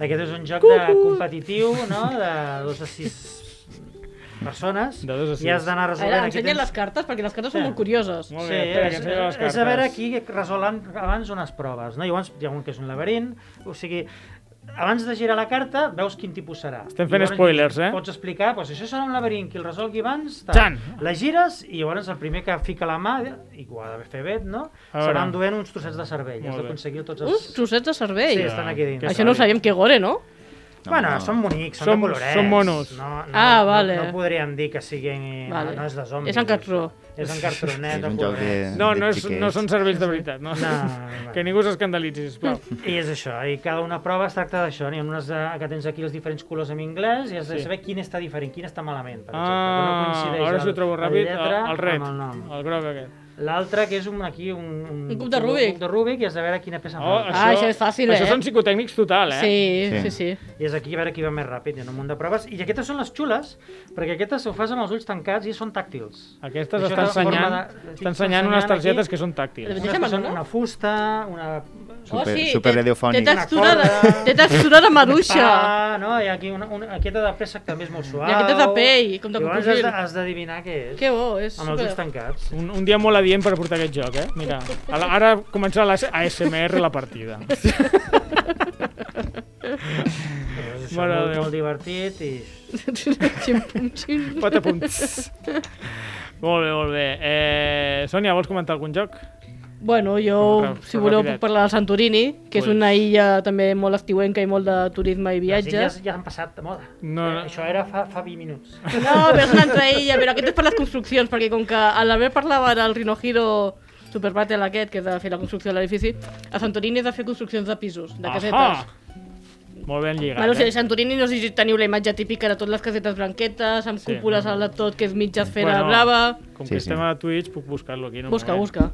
Aquest és un joc de competitiu, no?, de 2 a 6 persones.
De 2 a 6.
I has d'anar
A
resolvent...
veure,
Aquí
ensenyen
tens-
les cartes, perquè les cartes
Sí.
són molt curioses.
Sí, és, és, és a veure qui resolen abans unes proves. No? Llavors hi ha un que és un laberint, o sigui, abans de girar la carta veus quin tipus serà.
Estem fent
Llavors,
spoilers, eh?
Pots explicar, doncs això serà un laberint, qui el resolgui abans... Tal.
Jan!
La gires i llavors el primer que fica la mà, i ho ha de fer bé, no?
A veure.
Serà enduent uns trossets de cervell.
Molt
Has
bé.
d'aconseguir tots els...
Uns trossets de cervell.
Sí, estan aquí dins.
Això no ho sabíem que gore, no?
Bueno, són bonics, són,
Són-
de colorets.
són monos.
No, no,
Ah,
no-
vale.
No, podríem dir que siguin... eh,
Vale.
No, no és de zombis.
És en cartró.
És en cartronet,
És un joc de-
No,
de
no, és,
xiquets.
no són cervells de veritat, (laughs) no?
No,
que ningú s'escandalitzi, sisplau.
(laughs) I és això, i cada una prova es tracta d'això. N'hi ha unes de, que tens aquí els diferents colors en anglès i has de
Sí.
saber quin està diferent, quin està malament, per exemple. que
Ah,
coincideix
ara si ho
el-
trobo
la
ràpid, el,
lletra
el red,
amb el nom.
el groc aquest.
L'altre, que és un, aquí un... Un,
Un cub de Rubik.
Un cub de Rubik i has de veure quina peça
Oh,
falta.
això- Ah, això és fàcil, això eh? són psicotècnics total, eh? Sí, Sí. sí,
I és aquí a veure qui va més ràpid, hi ha un munt de proves. I aquestes són les xules, perquè aquestes ho fas amb els ulls tancats i són tàctils.
Aquestes
Això és
estan
la forma
ensenyant,
de-
estan ensenyant unes
aquí.
targetes que són tàctils.
Unes que són una fusta, una...
Oh,
Super- sí, super té- radiofònic. té
textura de- té textura de maduixa.
Ah, no? I aquí una, una, aquesta de préssec també és molt suau.
I aquesta és de pell, com de
Llavors has
cocodril.
de- has d'adivinar què és.
Que bo, és
Amb els ulls
super-
tancats.
Un, un dia molt adient per portar aquest joc, eh? Mira, a la- ara comença l'ASMR la
(laughs)
partida.
Llavors, això,
Mare de
molt,
Déu.
molt divertit i...
Patapum. Molt bé, molt bé. Eh, Sònia, vols comentar algun joc?
Bueno, jo,
Ràpid,
si voleu,
rapidet.
puc parlar de Santorini, que és
Ui.
una illa també molt estiuenca i molt de turisme i
Les
viatges.
illes ja han passat de moda.
No,
no. Eh, Això era fa, fa 20 minuts.
No, però és una altra illa, però aquest és per les construccions, perquè com que a l'Albert parlava del Rinohiro Super Battle aquest, que és de fer la construcció de l'edifici, a Santorini és de fer construccions de pisos, de casetes.
Molt ben lligat,
Bueno, si a
eh?
Santorini no sé si teniu la imatge típica de totes les casetes branquetes, amb
Sí.
cúpules a la tot, que és mitja esfera blava...
Com que estem a Twitch, puc buscar-lo aquí. en un
Busca,
moment.
busca.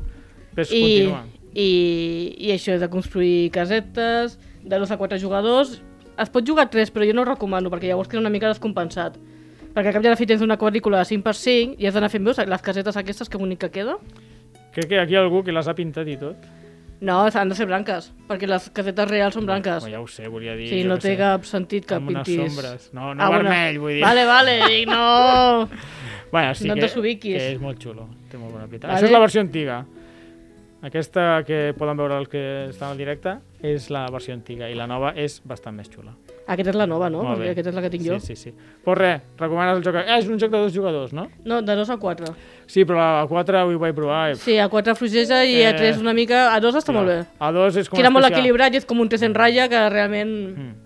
Ves,
I,
continua.
i, I això és de construir casetes, de 2 a 4 jugadors. Es pot jugar 3, però jo no ho recomano, perquè llavors queda una mica descompensat. Perquè al cap i a la fi tens una quadrícula de 5x5 i has d'anar fent veus les casetes aquestes, que bonic que queda.
Crec que aquí hi ha algú que les ha pintat i tot.
No, han de ser blanques, perquè les casetes reals són blanques.
Bueno, ja ho sé, volia dir...
Sí,
jo
no
què
té
sé,
cap sentit que
amb unes
pintis. Ah,
sombres. No, no vermell, vull dir.
Vale, vale, dic no...
(laughs) Bueno, Ah, sí
no
que,
et desubiquis.
que és molt xulo, té molt bona pinta.
Vale.
Això és la versió antiga. Aquesta que poden veure els que estan al directe és la versió antiga i la nova és bastant més xula.
Aquesta és la nova, no?
Molt bé.
Perquè aquesta és la que tinc
sí,
jo.
Sí, sí, Pues res, recomanes el joc... Ah, és un joc de dos jugadors, no?
No, de 2 a 4.
Sí, però a 4 ho vaig provar. i-
Sí, a 4 fluixeja i a
Eh,
3 una mica... A 2 està molt bé.
A dos és com
Queda molt
especial.
equilibrat i és com un 3 en ratlla que realment...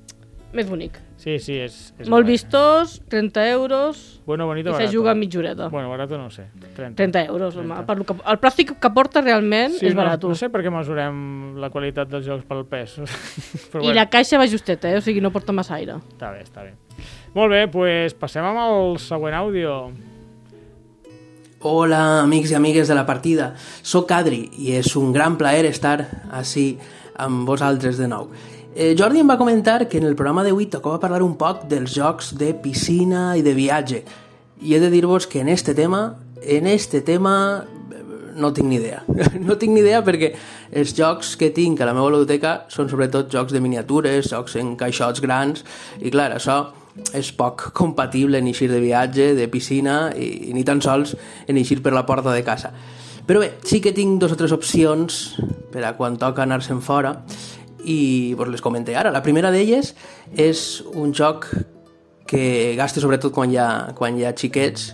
Més bonic.
Sí, sí, és... és
molt
guai.
vistós, 30 euros...
Bueno, bonito,
I se
barato.
juga en mitja horeta.
Bueno, barato no ho sé. 30.
30 euros, home. Per lo que, el plàstic que porta realment
Sí,
és
no,
barat.
no sé per què mesurem la qualitat dels jocs pel pes. (laughs) Però
I la caixa va justeta, eh? o sigui, no porta massa aire.
Està bé, està bé. Molt bé, doncs pues passem amb el següent àudio.
Hola amics i amigues de la partida, sóc Adri i és un gran plaer estar així amb vosaltres de nou. Eh, Jordi em va comentar que en el programa d'avui tocava parlar un poc dels jocs de piscina i de viatge i he de dir-vos que en este tema, en este tema eh, no tinc ni idea. (laughs) No tinc ni idea perquè els jocs que tinc a la meva biblioteca són sobretot jocs de miniatures, jocs en caixots grans i clar, això és poc compatible en eixir de viatge, de piscina i, i ni tan sols en eixir per la porta de casa. Però bé, sí que tinc dos o tres opcions per a quan toca anar-se'n fora i vos les comenté ara. La primera d'elles és un joc que gaste sobretot quan hi ha, quan hi ha xiquets,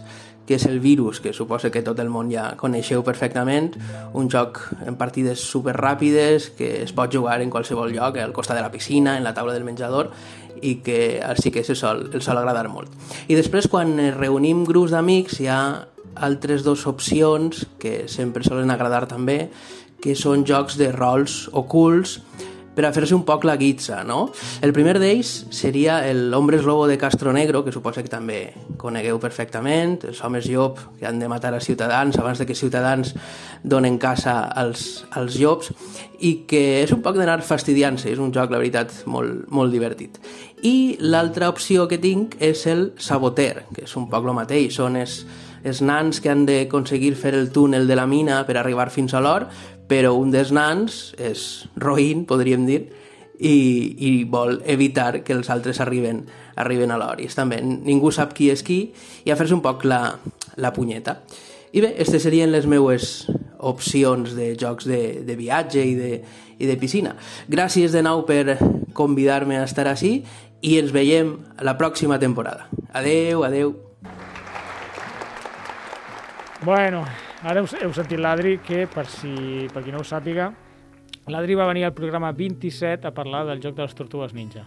que és el virus, que suposa que tot el món ja coneixeu perfectament, un joc en partides superràpides que es pot jugar en qualsevol lloc, al costat de la piscina, en la taula del menjador, i que als xiquets el sol, el sol agradar molt. I després, quan ens reunim grups d'amics, hi ha altres dues opcions que sempre solen agradar també, que són jocs de rols ocults per a fer-se un poc la guitza, no? El primer d'ells seria el Hombres Lobo de Castro Negro, que suposa que també conegueu perfectament, els homes llop que han de matar a ciutadans abans de que ciutadans donen caça als, als llops, i que és un poc d'anar fastidiant-se, és un joc, la veritat, molt, molt divertit. I l'altra opció que tinc és el Saboter, que és un poc el mateix, són els, els nans que han d'aconseguir fer el túnel de la mina per arribar fins a l'or, però un dels nans és roïn, podríem dir, i, i vol evitar que els altres arriben, arriben a l'hora. I és també, ningú sap qui és qui, i a fer-se un poc la, la punyeta. I bé, aquestes serien les meues opcions de jocs de, de viatge i de, i de piscina. Gràcies de nou per convidar-me a estar així i ens veiem la pròxima temporada. Adeu, adeu.
Bueno, ara us, heu sentit l'Adri, que per, si, per qui no ho sàpiga, l'Adri va venir al programa 27 a parlar del joc de les tortugues ninja.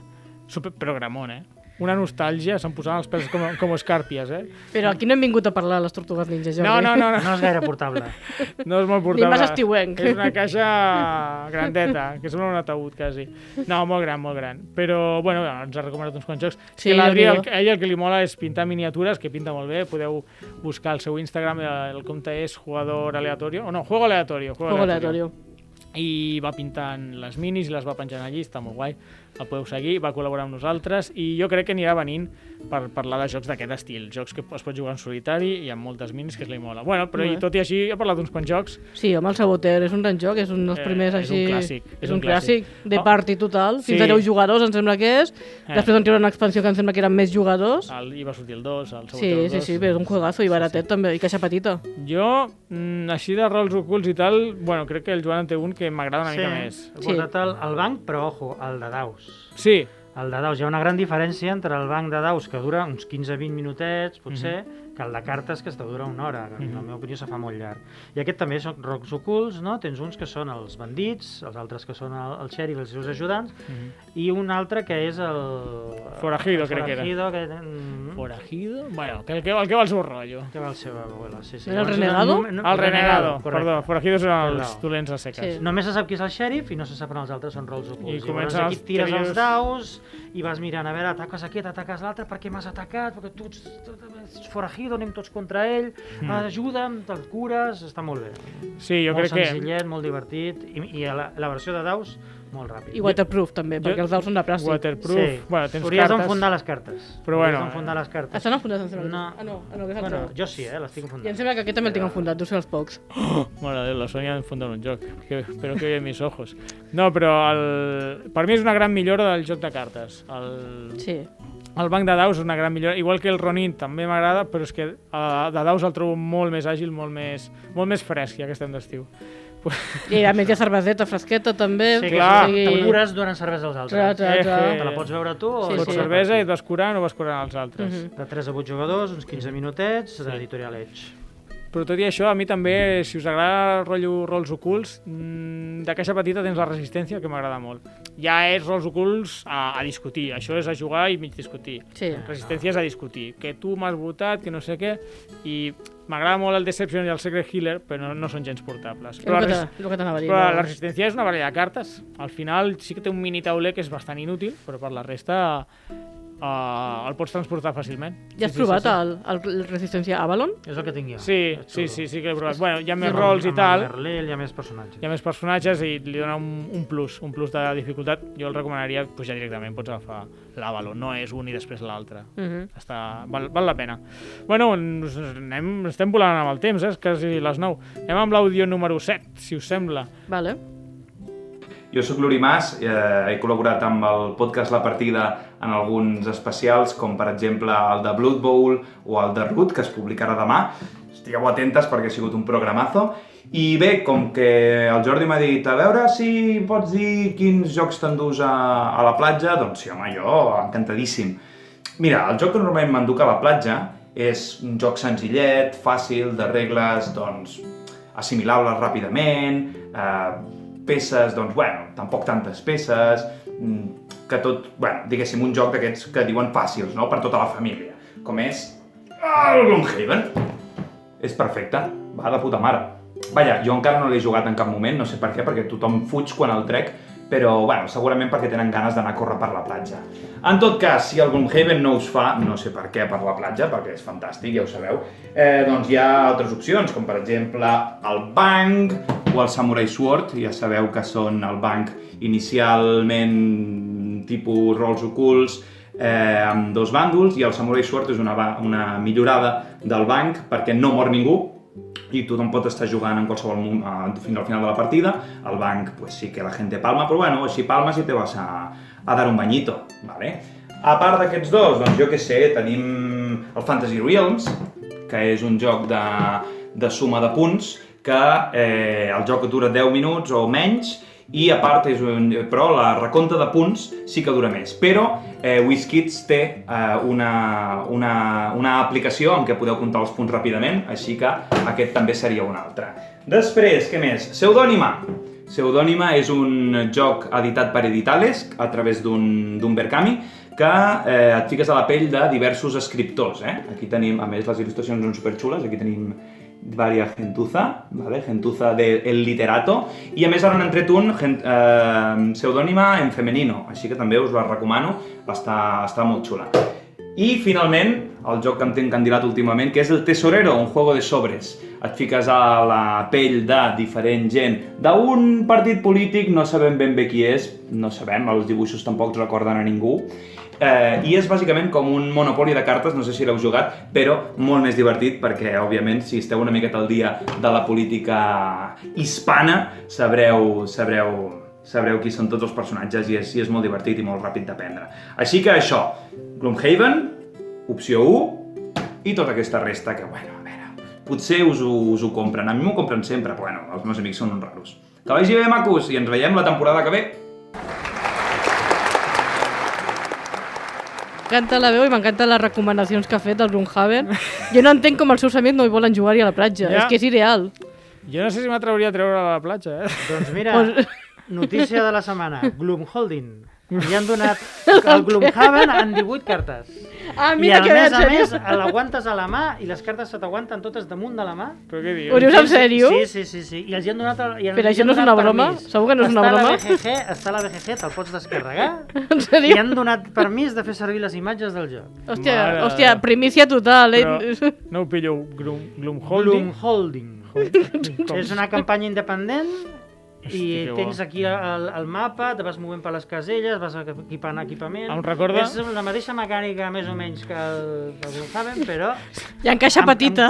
Super programón, eh? Una nostàlgia, se'n posaven els pèls com, com escàrpies, eh?
Però aquí no hem vingut a parlar de les tortugues ninja, Jordi.
No, no, no, no.
No és gaire portable.
(laughs) No és molt portable.
Ni massa estiuenc.
És una caixa grandeta, que sembla un ataúd, quasi. No, molt gran, molt gran. Però, bueno, ens ha recomanat uns quants jocs. És
Sí,
que l'Adri,
el
el,
millor.
ell el que li mola és pintar miniatures, que pinta molt bé. Podeu buscar el seu Instagram, el compte és jugador aleatorio, o no, juego aleatorio. Juego,
Juego
I va pintant les minis i les va penjant allí, està molt guai. El podeu seguir, va col·laborar amb nosaltres i jo crec que anirà venint per parlar de jocs d'aquest estil, jocs que es pot jugar en solitari i amb moltes minis, que és la mola. Bueno, però i
Molt bé.
tot i així he parlat d'uns quants jocs
Sí, home, el Saboter és un gran joc, és un dels
Eh,
primers
és un
així...
clàssic, Oh,
És, un, clàssic. de party total, fins
Sí.
a 10 jugadors, em sembla que és.
Eh.
Després van treure una expansió que em sembla que eren més jugadors.
El, I va sortir el 2, el
Sí,
Saboteur 2.
sí, sí, però és un juegazo i baratet també, i caixa petita.
Jo, mm, així de rols ocults i tal, bueno, crec que el Joan en té un que m'agrada una mica més.
He portat el, el banc, però ojo, el de daus.
Sí.
El de daus. Hi ha una gran diferència entre el banc de daus, que dura uns 15-20 minutets, potser, que el de cartes, que es dura una hora. que En la
Mhm.
meva opinió se fa molt llarg. I aquest també són rocs ocults, no? Tens uns que són els bandits, els altres que són el, el xèrif i els seus ajudants, i un altre que és el...
Mhm. Forajido,
el
crec que era.
Forajido, que... mm,
Forajido? Bueno, que el que, el que va al seu rotllo.
Que va al seu abuela, sí, sí.
Era el
Llavors,
Renegado?
no- no-
El Renegado,
correcte.
perdó, Forajidos eren els
Perdó.
dolents a seques. Sí.
Només se sap qui és el xèrif i no se saben els altres, són rols ocults. I Llavors
comencen
aquí
els
tires
trios.
els daus i vas mirant, a veure, ataques aquest, ataques l'altre, per què m'has atacat, perquè tu ets, tu ets forajido, anem tots contra ell,
Mm.
ajuda'm, te'l cures, està molt bé.
Sí, jo
molt
crec que-
senzillet, molt divertit, i, i la, la versió de daus, molt ràpid.
I waterproof també,
Jo-
perquè els daus són de plàstic.
Waterproof.
Sí.
Bueno, tens
Hauries
cartes.
d'enfundar les cartes.
Però
Hauries
bueno,
d'enfundar les cartes.
Estan enfundats, em sembla.
No.
Ah, no, ah, no, que és
Bueno,
altre.
jo sí, eh, les tinc
I em
enfundades.
sembla que aquest també el tinc enfundat, deu ser els pocs.
(gasps) Mare de Déu, la Sònia ha enfundat un joc. Que, però que veia mis ojos. No, però el... per mi és una gran millora del joc de cartes. El...
Sí.
El banc de daus és una gran millora. Igual que el Ronin també m'agrada, però és que eh, de daus el trobo molt més àgil, molt més, molt més fresc, ja que estem d'estiu.
I a més hi ha cerveseta fresqueta també.
Sí,
o
que
clar. Eh.
sí,
sigui-
te'l cures donant cervesa als
Clar,
altres.
clar, clar.
Eh, Te la pots veure tu o...
Sí,
la
Pots
pots veure
cervesa i et vas curant o vas curant els altres.
Mhm. De 3 a 8 jugadors, uns 15 minutets, d'editorial Edge.
Però tot i això, a mi també, si us agrada el rotllo rols ocults, mm, de caixa petita tens la resistència, que m'agrada molt. Ja és rols ocults a, a discutir, això és a jugar i mig discutir.
Sí.
Resistència és a discutir, que tu m'has votat, que no sé què, i m'agrada molt el Deception i el Secret Healer, però no, no són gens portables.
És
Però
el
la,
que
res-
t'ha- el que t'anava a dir,
però
no?
la resistència és una baralla de cartes. Al final sí que té un mini tauler que és bastant inútil, però per la resta eh, el pots transportar fàcilment.
Ja has
Sí, sí,
provat
sí, sí.
el, el, el Resistència Avalon?
És el que tinc jo.
Sí, sí, sí, sí que l'he provat. Bueno, hi ha més
Amb-
rols i
amb
tal,
el Merlell, hi ha més personatges.
hi ha més personatges i li dona un, un plus, un plus de dificultat. Jo el recomanaria pujar directament, pots agafar l'Avalon, no és un i després l'altre.
Mhm.
Està, val, val la pena. Bueno, ens, anem, estem volant amb el temps, eh? és quasi les 9. Anem amb l'àudio número 7, si us sembla.
Vale.
Jo sóc l'Uri Mas, eh, he col·laborat amb el podcast La Partida en alguns especials, com per exemple el de Blood Bowl o el de Root, que es publicarà demà. Estigueu atentes perquè ha sigut un programazo. I bé, com que el Jordi m'ha dit a veure si pots dir quins jocs t'endús a, a la platja, doncs sí, home, jo encantadíssim. Mira, el joc que normalment m'enduc a la platja és un joc senzillet, fàcil, de regles, doncs, assimilables ràpidament, eh, peces, doncs, bueno, tampoc tantes peces, mm, que tot, bueno, diguéssim, un joc d'aquests que diuen fàcils, no?, per tota la família, com és el Gloomhaven. és perfecte, va de puta mare. Vaja, jo encara no l'he jugat en cap moment, no sé per què, perquè tothom fuig quan el trec, però bueno, segurament perquè tenen ganes d'anar a córrer per la platja. En tot cas, si el Gloomhaven no us fa, no sé per què, per la platja, perquè és fantàstic, ja ho sabeu, eh, doncs hi ha altres opcions, com per exemple el Bang o el Samurai Sword, ja sabeu que són el Bang inicialment tipus rols ocults, eh, amb dos bàndols, i el Samurai Sword és una, ba- una millorada del Bang perquè no mor ningú, i tothom pot estar jugant en qualsevol moment eh, fins al final de la partida. Al banc, pues sí que la gente palma, però bueno, si palmes i te vas a, a dar un bañito, ¿vale? A part d'aquests dos, doncs jo que sé, tenim el Fantasy Realms, que és un joc de, de suma de punts, que eh, el joc dura 10 minuts o menys, i a part, és un, però la recompte de punts sí que dura més. Però eh, WizKids té eh, una, una, una aplicació en què podeu comptar els punts ràpidament, així que aquest també seria un altre. Després, què més? Pseudònima. Pseudònima és un joc editat per Editales a través d'un d'un Berkami que eh, et fiques a la pell de diversos escriptors. Eh? Aquí tenim, a més, les il·lustracions són superxules. Aquí tenim varia gentuza, ¿vale? gentuza de El Literato, i a més ara n'han tret un gent, eh, pseudònima en femenino, així que també us la recomano, està, està molt xula. I finalment, el joc que em tinc candidat últimament, que és el Tesorero, un juego de sobres. Et fiques a la pell de diferent gent d'un partit polític, no sabem ben bé qui és, no sabem, els dibuixos tampoc recorden a ningú, Eh, I és bàsicament com un monopoli de cartes, no sé si l'heu jugat, però molt més divertit perquè, òbviament, si esteu una miqueta al dia de la política hispana, sabreu, sabreu, sabreu qui són tots els personatges i és, i és molt divertit i molt ràpid d'aprendre. Així que això, Gloomhaven, opció 1, i tota aquesta resta que, bueno, a veure, potser us, ho- us ho compren. A mi m'ho compren sempre, però bueno, els meus amics són uns raros. Que vagi bé, macos, i ens veiem la temporada que ve.
M'encanta la veu i m'encanten les recomanacions que ha fet del Blumhaven. Jo no entenc com els seus amics no hi volen jugar-hi a la platja.
Ja.
És que és ideal.
Jo no sé si m'atreviria a treure a la platja, eh?
Doncs mira, notícia de la
(laughs)
setmana, Gloomholding. Li han donat el Gloomhaven en 18 cartes.
Ah,
I
mira
a
que bé,
més a
en
més,
sèrio.
l'aguantes a la mà i les cartes se t'aguanten totes damunt de la mà.
Però què
Ho dius en sèrio?
Sí, sí, sí, sí. I els hi han donat... El, i els
Però
hi
això
han
no és
donat
una broma?
permís.
Segur que no és una
està
broma?
La BGG, està la BGG, te'l pots descarregar.
(laughs) (laughs) En sèrio?
I han donat permís de fer servir les imatges del joc.
Hòstia, hòstia primícia total, eh?
Però no ho pillo, Gloom, Gloomholding.
Gloomholding. És una campanya independent i
que bo.
tens aquí el, el mapa, te vas movent per les caselles, vas equipant equipament...
Em recorda-
És la mateixa mecànica, més o menys, que el que el Saben,
(laughs)
però...
I encaixa petita.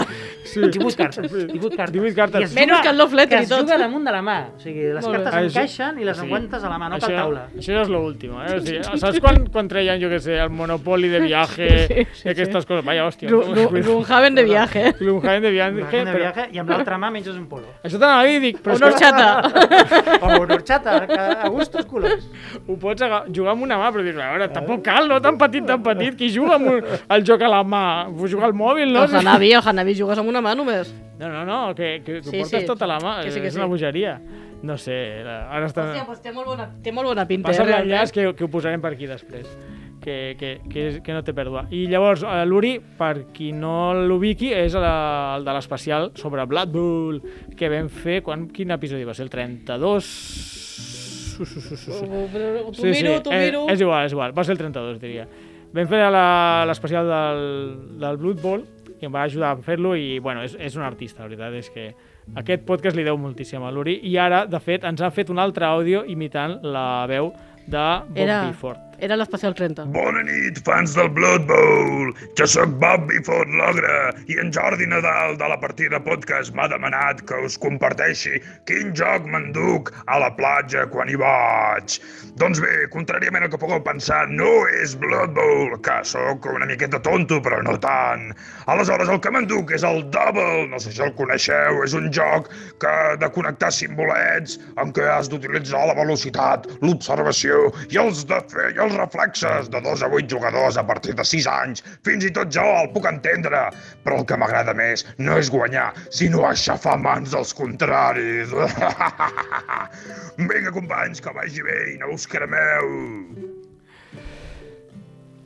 Sí. 18 cartes. 18 cartes. 18
cartes.
Menys que el Love Letter
que
i
es
tot.
juga damunt de la mà. O sigui, les
Molt bé.
cartes
Ah, això-
encaixen i les
o sigui,
aguantes a la mà, no
això,
cal taula.
Això és l'últim, eh? O sigui, saps quan, quan treien, jo què sé, el monopoli de viaje sí, sí, i aquestes coses? Vaja, hòstia.
Glu- glu- Gloomhaven de viaje.
Gloomhaven de viaje.
Gloomhaven de viaje, i amb l'altra mà menges un polo.
Això t'anava a dir, dic... Però és
Una
que-
horchata.
(laughs)
O una horchata, a gustos colors.
Ho pots aga- jugar amb una mà, però dius, a veure, tampoc cal, no? Tan petit, tan petit. Qui juga amb un, el joc a la mà? Vull jugar al mòbil, no?
El Hanabi, el Hanabi jugues amb una mà només.
No, no, no, que, que, que
Sí,
sí, portes
sí.
sí. tota la mà.
Que sí, que
és una
sí.
bogeria. No sé, la- ara està...
Hòstia, doncs té molt bona, té molt bona pinta.
Passa
eh,
l'enllaç que, que ho posarem per aquí després. Que, que, que, és, que no té pèrdua. I llavors, eh, l'Uri, per qui no l'ubiqui, és la, el de l'especial sobre Blood Bowl que vam fer, quan, quin episodi va ser? El 32? Su, su, su, su, su.
Ho- ho- ho- t'ho miro, t'ho
eh,
miro.
És igual, és igual. Va ser el 32, diria. Vam fer la- l'especial del, del Blood Bowl i em va ajudar a fer-lo i, bueno, és, és un artista, la veritat és que aquest podcast li deu moltíssim a l'Uri i ara, de fet, ens ha fet un altre àudio imitant la veu de Bob
Era,
Bifford.
era l'especial 30.
Bona nit, fans del Blood Bowl! Jo sóc Bob Biford l'Ogre i en Jordi Nadal de la partida podcast m'ha demanat que us comparteixi quin joc m'enduc a la platja quan hi vaig. Doncs bé, contràriament al que pugueu pensar, no és Blood Bowl, que sóc una miqueta tonto, però no tant. Aleshores, el que m'enduc és el Double, no sé si el coneixeu, és un joc que de connectar simbolets en què has d'utilitzar la velocitat, l'observació i els, de fer, i els reflexes de 2 a 8 jugadors a partir de 6 anys. Fins i tot jo el puc entendre, però el que m'agrada més no és guanyar, sinó aixafar mans dels contraris. (laughs) Vinga, companys, que vagi bé i no us cremeu.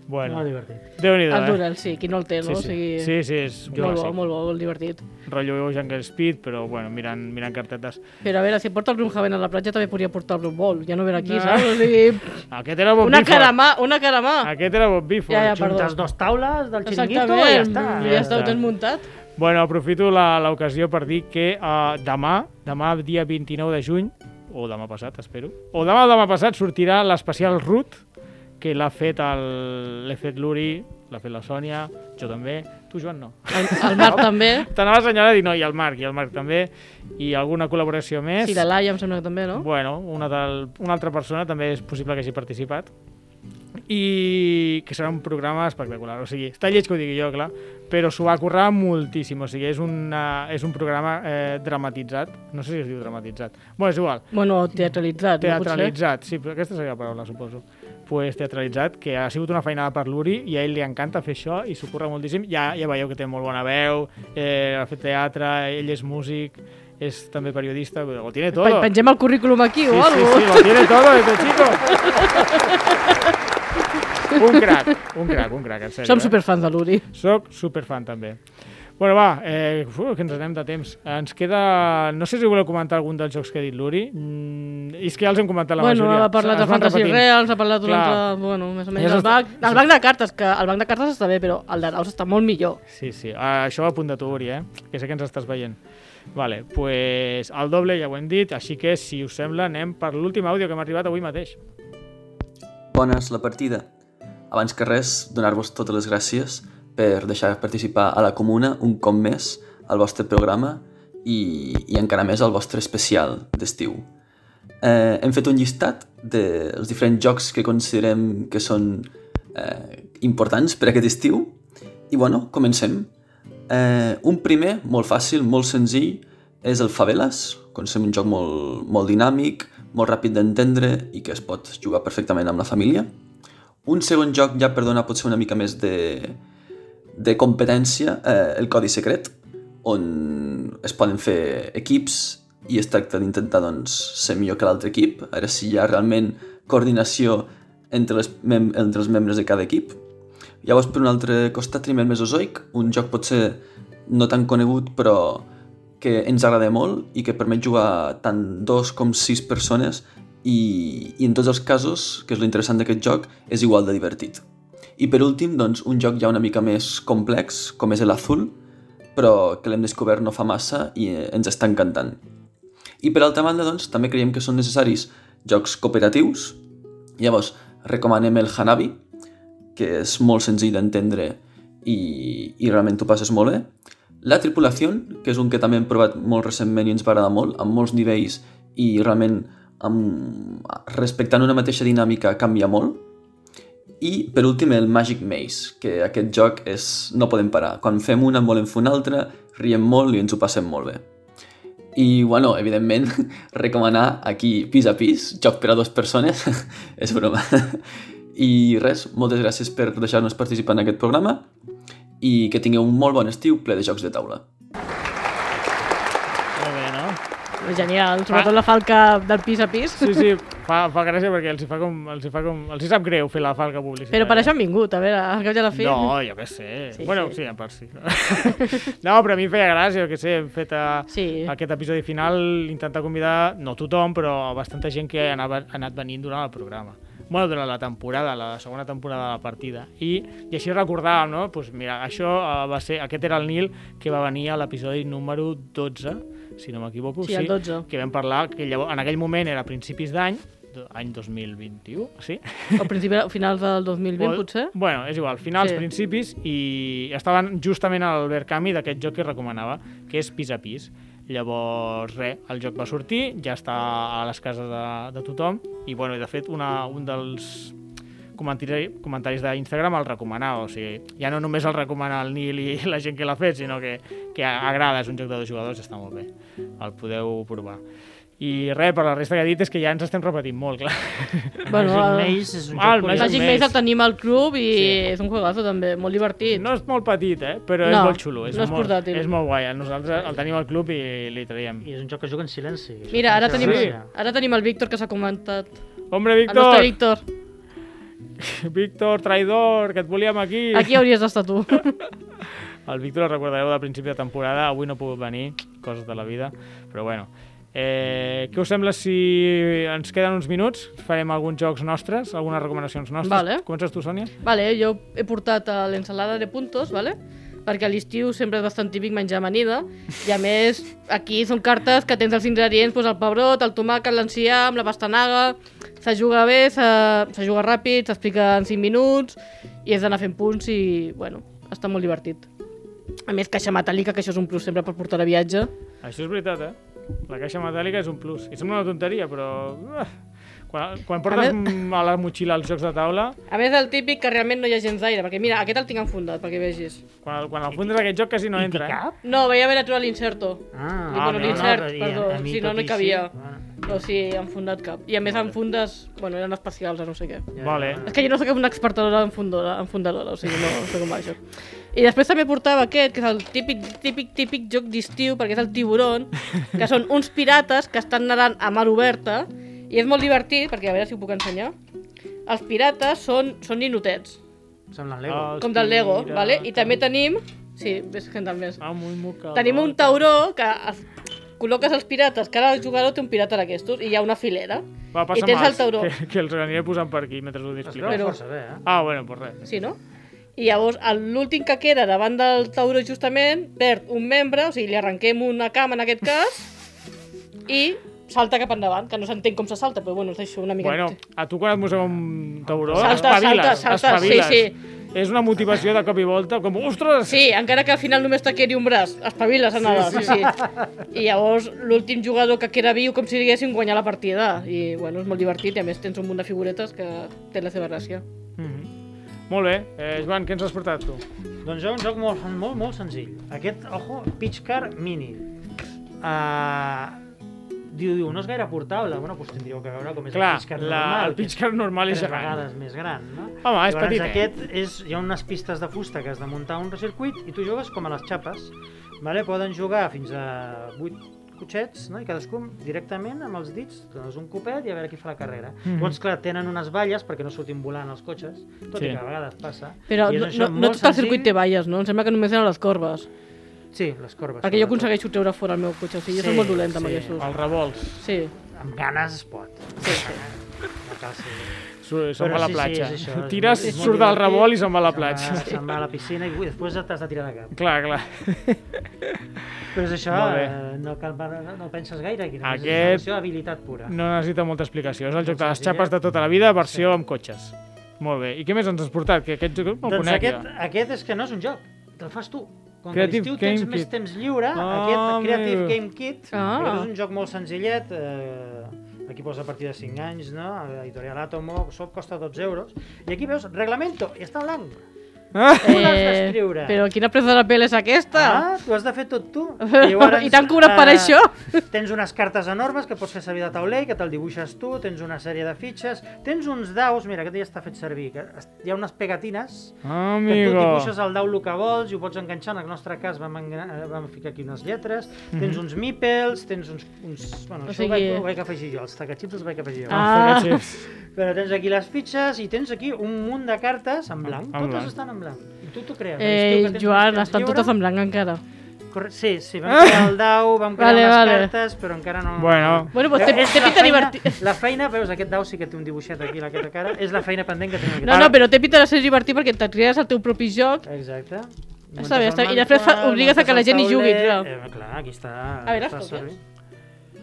Bueno.
Molt Ah, divertit.
Déu-n'hi-do,
El
eh?
Durell, sí, qui no el té, no?
Sí,
O
sí.
sigui,
sí, sí és
molt
un
bo,
clàssic.
molt bo, molt divertit.
Rotllo Jungle Speed, però bueno, mirant, mirant cartetes.
Però a veure, si porta el Gloomhaven a la platja també podria portar el Ball, ja no ve aquí,
No.
saps? O sigui,
Aquest era Bob
una
Biford.
caramà, una caramà.
Aquest era Bob Biford.
Ja, ja, perdó.
Juntes dos taules del xiringuito
Exactament,
i ja està.
Ja està, ho tens muntat.
Bueno, aprofito la- l'ocasió per dir que uh, demà, demà dia 29 de juny, o demà passat, espero, o demà o demà passat sortirà l'especial Root, que l'ha fet el... l'he fet l'Uri, l'ha fet la Sònia, jo també, tu Joan no. El,
el Marc també.
T'anava a assenyalar i dir no, i el Marc, i el Marc també, i alguna col·laboració més.
Sí, la Laia em sembla que també, no?
Bueno, una, del, una altra persona també és possible que hagi participat i que serà un programa espectacular, o sigui, està lleig que ho digui jo, clar, però s'ho va currar moltíssim, o sigui, és, una, és un programa eh, dramatitzat, no sé si es diu dramatitzat, bueno, és igual.
Bueno, teatralitzat, Ah, no, potser?
Teatralitzat, sí, però aquesta seria la paraula, suposo. pues teatralitzat, que ha sigut una feinada per l'Uri i a ell li encanta fer això i s'ho curra moltíssim. Ja, ja veieu que té molt bona veu, eh, ha fet teatre, ell és músic, és també periodista, ho tiene tot.
Pe- Pengem el currículum aquí
Sí,
o
sí,
alguna
sí, lo tiene todo este chico.
(laughs)
Un crac, un crac, un crac, en sèrio.
Som
eh?
superfans de l'Uri.
Soc superfan també. Bueno, va, eh, uf, que ens anem de temps. Ens queda... No sé si voleu comentar algun dels jocs que ha dit l'Uri. Mm, és que ja els hem comentat la
bueno,
majoria.
ha parlat de
Ens van
Fantasy
repetint.
Reals, ha parlat d'un
Clar.
altre... Bueno, més o menys.
Ja
El
s'està-
banc, el banc de cartes, que el banc de cartes està bé, però el de daus està molt millor.
Sí, sí. Ah, això a punt de tu, Uri, eh? Que sé que ens estàs veient. Vale, pues el doble ja ho hem dit, així que, si us sembla, anem per l'últim àudio que m'ha arribat avui mateix.
Bones, la partida. Abans que res, donar-vos totes les gràcies per deixar participar a la Comuna un cop més al vostre programa i, i encara més al vostre especial d'estiu. Eh, hem fet un llistat dels diferents jocs que considerem que són eh, importants per aquest estiu i bueno, comencem. Eh, un primer, molt fàcil, molt senzill, és el Favelas, considerem un joc molt, molt dinàmic, molt ràpid d'entendre i que es pot jugar perfectament amb la família. Un segon joc ja per donar potser una mica més de, de competència, eh, el Codi Secret, on es poden fer equips i es tracta d'intentar doncs, ser millor que l'altre equip, a veure si hi ha realment coordinació entre, les mem entre els membres de cada equip. Llavors, per un altre costat, tenim el Mesozoic, un joc potser no tan conegut, però que ens agrada molt i que permet jugar tant dos com sis persones i, i en tots els casos, que és l'interessant d'aquest joc, és igual de divertit. I per últim, doncs, un joc ja una mica més complex, com és l'Azul, però que l'hem descobert no fa massa i eh, ens està encantant. I per altra banda, doncs, també creiem que són necessaris jocs cooperatius. Llavors, recomanem el Hanabi, que és molt senzill d'entendre i, i realment t'ho passes molt bé. La tripulació, que és un que també hem provat molt recentment i ens va agradar molt, amb molts nivells i realment amb, respectant una mateixa dinàmica canvia molt. I, per últim, el Magic Maze, que aquest joc és... no podem parar. Quan fem una, en volem fer una altra, riem molt i ens ho passem molt bé. I, bueno, evidentment, (laughs) recomanar aquí pis a pis, joc per a dues persones, (laughs) és broma. I res, moltes gràcies per deixar-nos participar en aquest programa i que tingueu un molt bon estiu ple de jocs de taula.
Molt bé, no?
Genial,
Ah.
sobretot la falca del pis a pis.
Sí, sí, fa, fa gràcia perquè els hi, fa com, els hi, fa com, els hi sap greu fer la falca publicitària.
Però per això han vingut, a veure, al cap i a la fi...
No, jo què sé. Sí, bueno, sí. sí, en part sí. (laughs) no, però a mi em feia gràcia, jo què sé, hem fet a, sí. aquest episodi final intentar convidar, no tothom, però bastanta gent que anava, ha anat venint durant el programa. Bueno, durant la temporada, la segona temporada de la partida. I, i així recordàvem, no? Pues mira, això eh, va ser, aquest era el Nil que va venir a l'episodi número 12, si no m'equivoco.
Sí, el 12.
Que vam parlar, que llavors, en aquell moment era a principis d'any, any 2021, sí?
Al principi, a finals del
(laughs)
2020,
O-
potser?
Bueno, és igual, finals,
Sí.
sí. principis, i estaven justament al Verkami d'aquest joc que recomanava, que és pis a pis. Llavors, res, el joc va sortir, ja està a les cases de, de tothom, i bueno, i de fet, una, un dels comentari, comentaris d'Instagram el recomanava, o sigui, ja no només el recomana el Nil i la gent que l'ha fet, sinó que, que agrada, és un joc de dos jugadors, està molt bé, el podeu provar. I res, per la resta que ha dit és que ja ens estem repetint molt, clar. (laughs)
el-
Ah, el
Magic Maze el tenim al club i és un juegazo també, molt divertit.
No és molt petit, eh? però és
No,
molt xulo. És
no és
molt,
portàtil.
És molt guai. Nosaltres el tenim al club i li traiem.
I és un joc que juga en silenci.
Mira, ara tenim,
Sí.
ara tenim el Víctor que s'ha comentat.
Hombre,
El nostre
Víctor!
Víctor.
(laughs) Víctor, traïdor, que et volíem aquí.
Aquí hauries d'estar tu.
(laughs)
(laughs)
El Víctor el recordareu de principi de temporada, avui no ha pogut venir, coses de la vida, però bueno. Eh, què us sembla si ens queden uns minuts? Farem alguns jocs nostres, algunes recomanacions nostres.
Vale.
Comences tu, Sònia?
Vale, jo he portat a l'ensalada de puntos, vale? perquè a l'estiu sempre és bastant típic menjar amanida, i a més aquí són cartes que tens els ingredients, doncs el pebrot, el tomàquet, l'enciam, la pastanaga, se juga bé, se, se juga ràpid, s'explica en 5 minuts, i és d'anar fent punts i, bueno, està molt divertit. A més, caixa metàl·lica, que això és un plus sempre per portar a viatge.
Això és veritat, eh? La caixa metàl·lica és un plus. I sembla una tonteria, però... ah, Quan, quan portes
A
a la motxilla els jocs de taula,
A més, el típic que realment no hi ha gens d'aire, perquè mira, aquest el tinc enfundat, perquè vegis.
quan, el- quan el fundes aquest joc quasi no entra. Eh?
No, veia haver natural l'inserto.
Ah,
I, bueno,
ah,
l'insert,
no, no, però i a-
perdó,
a mi Ah,
si no,
tot
no hi
i
cabia.
així,
O sigui, han fundat cap. I a més, en fundes, bueno, eren especials o no sé què.
Vale.
És que jo no sóc una expertadora en fundadora, en fundadora o sigui, no sé com va això. I després també portava aquest, que és el típic, típic, típic joc d'estiu, perquè és el tiburon, que són uns pirates que estan nedant a mar oberta, i és molt divertit, perquè a veure si ho puc ensenyar. Els pirates són, són ninotets,
Sembla Lego.
Ah,
com del Lego, vale? i també tenim... Sí, ves gent del
Ah,
més. Tenim
Tenim
un tauró que es... col·loques els pirates, cada jugador té un pirata d'aquestos, i hi ha una filera.
Va,
I
passa
tens el tauró.
Que, que els aniré posant per aquí mentre ho expliques.
veu força bé,
eh?
Ah, bueno, pues res.
Sí, no? I llavors el- l'últim que queda davant del tauró justament perd un membre, o sigui, li arrenquem una cama en aquest cas, i salta cap endavant, que no s'entén com se salta, però bueno, us deixo una mica...
Bueno, a tu quan et moseu un tauró,
Salta,
espaviles,
salta, salta,
espaviles.
sí,
És una motivació de cop i volta, com, ostres!
Sí, encara que al final només te quedi un braç, espaviles a nedar,
Sí,
sí,
sí.
sí. I llavors l'últim jugador que queda viu com si diguéssim guanyar la partida, i bueno, és molt divertit, i a més tens un munt de figuretes que té la seva gràcia.
Molt bé. Eh, Joan, què ens has portat tu?
Doncs jo un joc molt, molt, molt senzill. Aquest, ojo, Pitch Car Mini. Uh, diu, diu, no és gaire portable. Bueno, doncs tindríeu que veure com és
Clar,
el Pitch Car
la-
normal.
el Pitch Car normal és
tres
gegant.
vegades més gran, no?
Home, és eh?
Llavors,
petitet.
Aquest és, hi ha unes pistes de fusta que has de muntar un circuit i tu jugues com a les xapes. Vale? Poden jugar fins a 8 cotxets, no? i cadascú directament amb els dits, dones un copet i a veure qui fa la carrera. Mm
Mhm.
-hmm. Llavors, clar, tenen unes valles perquè no surtin volant els cotxes, tot
Sí.
sí. i que a vegades passa.
Però
Ah. I és
no,
un
no,
joc
no
molt
tot el
senzill.
circuit té valles, no? Em sembla que només eren les corbes.
Sí, les corbes.
Perquè jo
sobretot.
aconsegueixo treure fora el meu cotxe, o sigui, jo soc molt dolenta amb aquestos.
Els revolts.
Sí.
Amb ganes es pot. Sí, sí. No cal ser...
Su- se'n
Però
va a la
sí,
platja.
Sí, és això, és
Tires,
molt- és molt
surt del
divertit,
revolt i se'n va a la
Ah,
se'n va-
platja.
Se'n va a la piscina i després t'has de tirar de cap.
Clar, clar.
Però és això,
Molt bé.
eh, no, cal, no, no penses gaire aquí, només és una
Aquest
qüestió d'habilitat pura.
no necessita molta explicació. És el joc de les
senzillet.
xapes de tota la vida, versió amb cotxes. Molt bé. I què més ens has portat? Que aquest joc el
doncs
conec
aquest,
jo.
aquest és que no és un joc, te'l fas tu. Com que a
Creative
l'estiu
Game
tens més
Kit.
temps lliure,
Ah,
aquest Creative
amigo.
Game Kit,
Ah.
aquest és un joc molt senzillet, eh, aquí posa a partir de 5 anys, no? Editorial Atomo, sóc costa 12 euros, i aquí veus reglamento, i està en blanc.
Ah.
Tu l'has d'escriure.
Eh, però quina presa de pèl és aquesta?
Ah, t'ho has de fer tot tu.
(laughs) I t'han cobrat per
eh,
això? (laughs)
Tens unes cartes enormes que pots fer servir de tauler, que te'l dibuixes tu, tens una sèrie de fitxes, tens uns daus, mira, aquest ja està fet servir, que es- hi ha unes pegatines que tu
Amigo.
dibuixes el dau el que vols i ho pots enganxar, en el nostre cas vam, engra- eh, vam ficar aquí unes lletres,
Mhm.
tens uns mipels, tens uns... uns bueno,
O
això
sigui-
ho, vaig, ho vaig afegir jo, els tacachips els vaig afegir jo.
Ah. Els tacachips.
(laughs) Però tens aquí les fitxes i tens aquí un munt de cartes en blanc,
en
totes
blanc.
estan en blanc. I tu t'ho crees. a l'estiu que
Eh,
tens més
Joan,
temps
estan
lliure.
totes en blanc encara.
Corre... Sí, sí, vam crear el dau, vam crear
Eh? Vale,
vale, les
vale.
vale. cartes, però encara no...
Bueno.
Bueno, pues té-
És
té
la
pinta (laughs)
feina-
divertit.
La feina, veus, aquest dau sí que té un dibuixet aquí a la aquesta cara, és la feina pendent que tenim.
Ah.
No, no, però té pinta de ser divertit perquè et crees el teu propi joc.
Exacte.
Està bé, està bé. I després fa, obligues a que la gent hi jugui, clar.
Eh, clar, aquí està...
A veure,
està
escolta. Ah,
servit.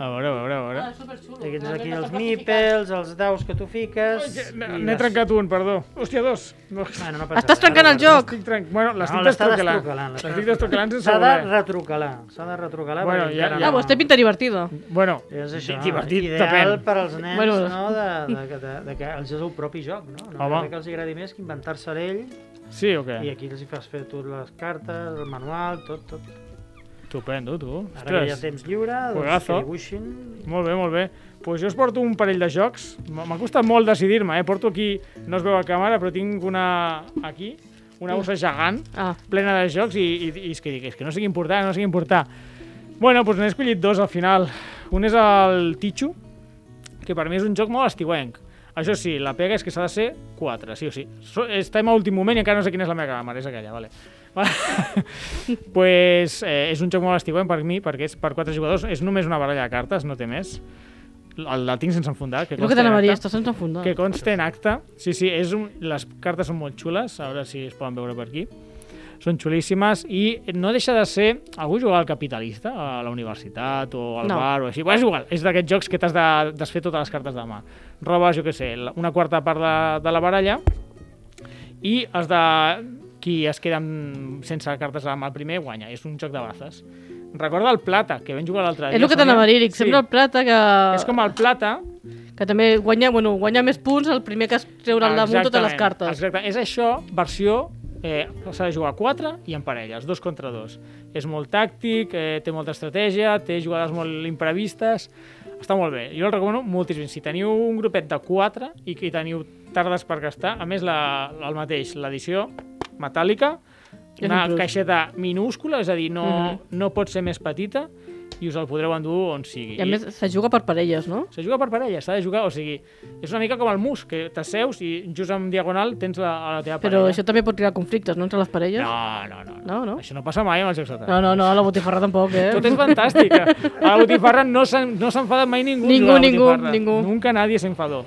A veure, a veure, a veure.
I aquí tens aquí els mipels, els daus que tu fiques... i
N'he
les-
trencat un, perdó. Hòstia, dos. No.
Bueno, no passa
Estàs
res,
trencant
ara
el
guardes.
joc.
Estic trenc... Bueno, l'estic
No, l'està
destrocalant.
destrocalant, l'està
L'estic destrocalant sense
S'ha de
voler.
retrocalar, s'ha de retrocalar.
Bueno,
perquè
ja-
encara
Ah,
ja-
no-
doncs té pinta divertida.
Bueno,
és això,
divertit,
ideal
depèn.
per als nens,
Bueno.
bueno. no? De, de, de, de, de que els és el propi joc, no? No
Home.
crec que els agradi més que inventar-se l'ell
Sí o què?
i aquí els hi fas fer tu les cartes, el manual, tot, tot.
Estupendo, tu.
Ara que hi ha temps lliure, doncs,
Juegazo.
que dibuixin.
Molt bé, molt bé. Pues jo us porto un parell de jocs. M- M'ha costat molt decidir-me, eh? Porto aquí, no es veu a càmera, però tinc una aquí, una bossa gegant,
ah.
plena de jocs, i, i, i és que dic, és que no sé quin portar, no sé quin portar. Bueno, doncs n'he escollit dos al final. Un és el Tichu, que per mi és un joc molt estiuenc. Això sí, la pega és que s'ha de ser 4, sí o sí. So- Estem a últim moment i encara no sé quina és la meva càmera, és aquella, vale. (laughs) pues eh, és un joc molt estiuent per mi, perquè és per 4 jugadors, és només una baralla de cartes, no té més. El, el tinc sense enfundar. Que
És el que
consti en
t'anava a dir,
acta.
està sense enfundar.
Que conste en acte. Sí, sí, és un, les cartes són molt xules, a veure si es poden veure per aquí. Són xulíssimes i no deixa de ser... Algú jugava al capitalista, a la universitat o al
No.
bar o així. Bueno, és igual, és d'aquests jocs que t'has de desfer totes les cartes de mà. Robes, jo què sé, la- una quarta part de, de la baralla i has de... Qui es queda amb, sense cartes amb el primer guanya. És un joc de braces. Recorda el plata, que vam jugar l'altre dia.
És el que t'anava a dir, Eric. Sempre el plata que...
És com el plata...
Que també guanya, bueno, guanya més punts el primer que es treurà al damunt totes les cartes.
Exactament, Exacte, és això, versió eh, s'ha de jugar 4 i en parelles, dos contra dos. És molt tàctic, eh, té molta estratègia, té jugades molt imprevistes, està molt bé. Jo el recomano moltíssim. Si teniu un grupet de 4 i que teniu tardes per gastar, a més la, el mateix, l'edició metàl·lica,
És
una
un plus.
caixeta minúscula, és a dir, no,
Mhm.
no pot ser més petita i us el podreu endur on sigui.
I a més se juga per parelles, no?
Se juga per parelles, s'ha de jugar, o sigui, és una mica com el mus, que t'asseus i just en diagonal tens la, a la teva
Però
parella.
això també pot crear conflictes, no?, entre les parelles.
No, no, no.
No, no?
Això no passa mai amb els jocs de taula.
No, no, no, la botifarra tampoc, eh?
Tot és fantàstic. A la botifarra no s'en- no s'enfada mai ningú.
Ningú,
jugant a la
ningú,
botifarra.
ningú.
Nunca nadie se enfadó.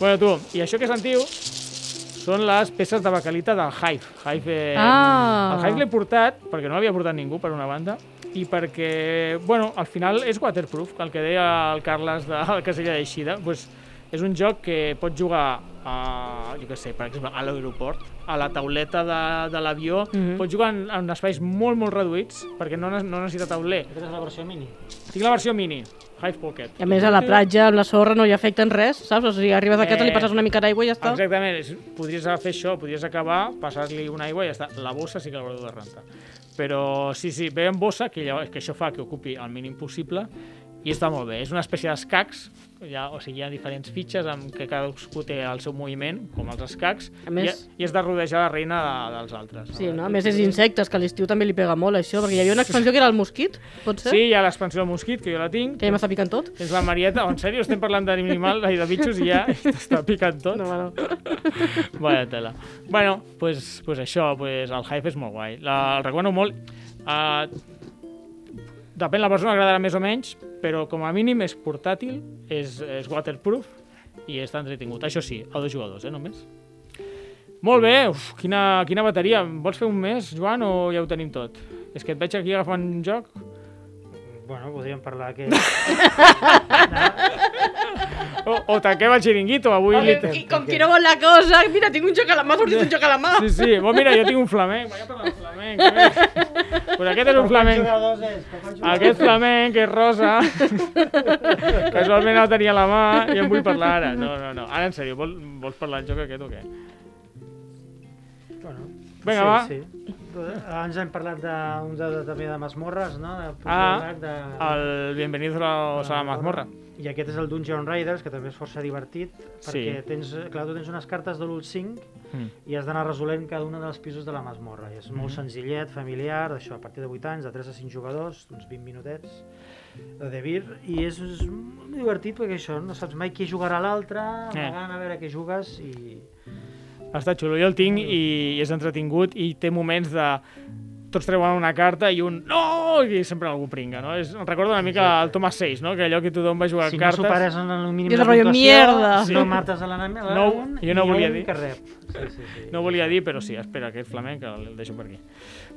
Bueno, tu, i això que sentiu són les peces de bacalita del Hive. Hive eh,
Ah.
El Hive l'he portat, perquè no l'havia portat ningú, per una banda, i perquè, bueno, al final és waterproof, el que deia el Carles de la casella d'eixida. Pues, és un joc que pots jugar a, jo què sé, per exemple, a l'aeroport, a la tauleta de, de l'avió,
Mhm.
pots jugar en, en espais molt, molt reduïts, perquè no, ne- no necessita tauler.
Aquesta és la versió mini.
Tinc la versió mini, Hive Pocket.
I a més a la platja, amb la sorra, no hi afecten res, saps? O sigui, arribes a casa,
Eh.
li passes una mica d'aigua i ja està.
Exactament, és- podries fer això, podries acabar, passar-li una aigua i ja està. La bossa sí que l'haureu de rentar. Però sí, sí, ve en bossa, que, llavors, que això fa que ocupi el mínim possible, i està molt bé. És una espècie d'escacs, ja, o sigui, hi ha diferents fitxes amb què cadascú té el seu moviment, com els escacs,
A més-
i, i has de rodejar la reina de, dels altres.
Sí, no? A més és insectes, que a l'estiu també li pega molt això, perquè hi havia una expansió que era el mosquit, pot ser?
Sí, hi ha l'expansió del mosquit, que jo la tinc.
Que ja m'està picant tot.
Tens la Marieta, en sèrio estem parlant d'animal i de
(laughs)
bitxos i ja t'està picant tot? No,
bueno.
(laughs) Vaya tela. Bueno, pues, pues això, pues el hype és molt guai. La, el recomano molt. Uh, depèn, la persona agradarà més o menys, però com a mínim és portàtil, és, és waterproof i està entretingut. Això sí, a dos jugadors, eh, només. Molt bé, uf, quina, quina bateria. Vols fer un més, Joan, o ja ho tenim tot? És que et veig aquí agafant un joc.
Bueno, podríem parlar que...
(laughs) O, o tanquem el xiringuito, avui.
Home,
li-
i com que no vol la cosa, mira, tinc un joc a la mà, ha sortit un joc a la mà. Eh,
Sí, sí, bon, mira, jo tinc un flamenc. Vaig a parlar del flamenc. que bé. Pues aquest és un flamenc. Ah, Aquest flamenc que és rosa, casualment el tenia a la mà i en vull parlar ara. No, no, no. Ara, en sèrio, vol, vols parlar del joc aquest o què? (laughs)
Bueno,
Vinga, va.
sí, Sí. Abans hem parlat d'un de, de, també de masmorres, no? De,
Ah,
de,
el Bienvenidos a la mazmorra.
I aquest és el Dungeon Raiders, que també és força divertit, perquè
Sí.
tens, clar, tu tens unes cartes de l'Ul 5
Mm.
i has d'anar resolent cada un dels pisos de la masmorra. I és molt
Mhm.
senzillet, familiar, això, a partir de 8 anys, de 3 a 5 jugadors, uns 20 minutets de devir, i és, és molt divertit perquè això, no saps mai qui jugarà l'altre,
Eh.
eh. a veure què jugues i...
Està xulo, jo el tinc i és entretingut i té moments de tots treuen una carta i un no! I sempre algú pringa, no? És, em recorda una mica el Thomas 6, no? Que allò que tothom va jugar
Si
a
no
cartes...
superes en el mínim de puntuació, Mierda. no mates a l'enemic, a
No,
un,
jo no
ni a
volia
un
dir.
que rep. Sí, sí, sí.
(laughs) No volia dir, però sí, espera, aquest flamenc el deixo per aquí.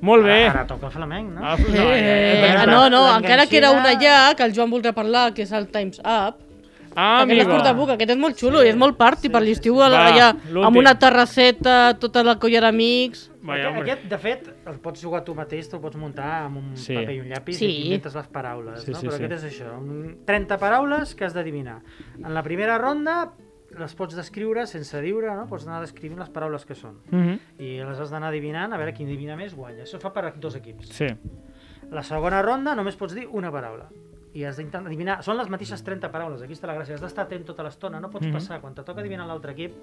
Molt bé.
Ara, ara toca el flamenc, no?
Ah, no, ja, ja,
Eh,
ja, ja.
no, no, encara que era una ja, que el Joan voldrà parlar, que és el Times Up,
Ah,
aquest és
amigo.
portabuc, aquest és molt xulo, i és molt party per l'estiu,
Va,
allà,
l'últim.
amb una terrasseta, tota la colla d'amics...
Aquest, aquest, de fet, el pots jugar tu mateix, te'l pots muntar amb un
Sí.
paper i un llapis
Sí.
i inventes les paraules,
Sí,
no?
sí,
Però
sí.
aquest és això, un- 30 paraules que has d'adivinar. En la primera ronda les pots descriure sense diure, no? Pots anar descrivint les paraules que són.
Mhm.
I les has d'anar adivinant, a veure qui endevina més guanya. Això fa per a dos equips.
Sí.
La segona ronda només pots dir una paraula. i has d'intentar adivinar. Són les mateixes 30 paraules, aquí està la gràcia. Has d'estar atent tota l'estona, no pots
Mhm.
passar. Quan te toca adivinar l'altre equip,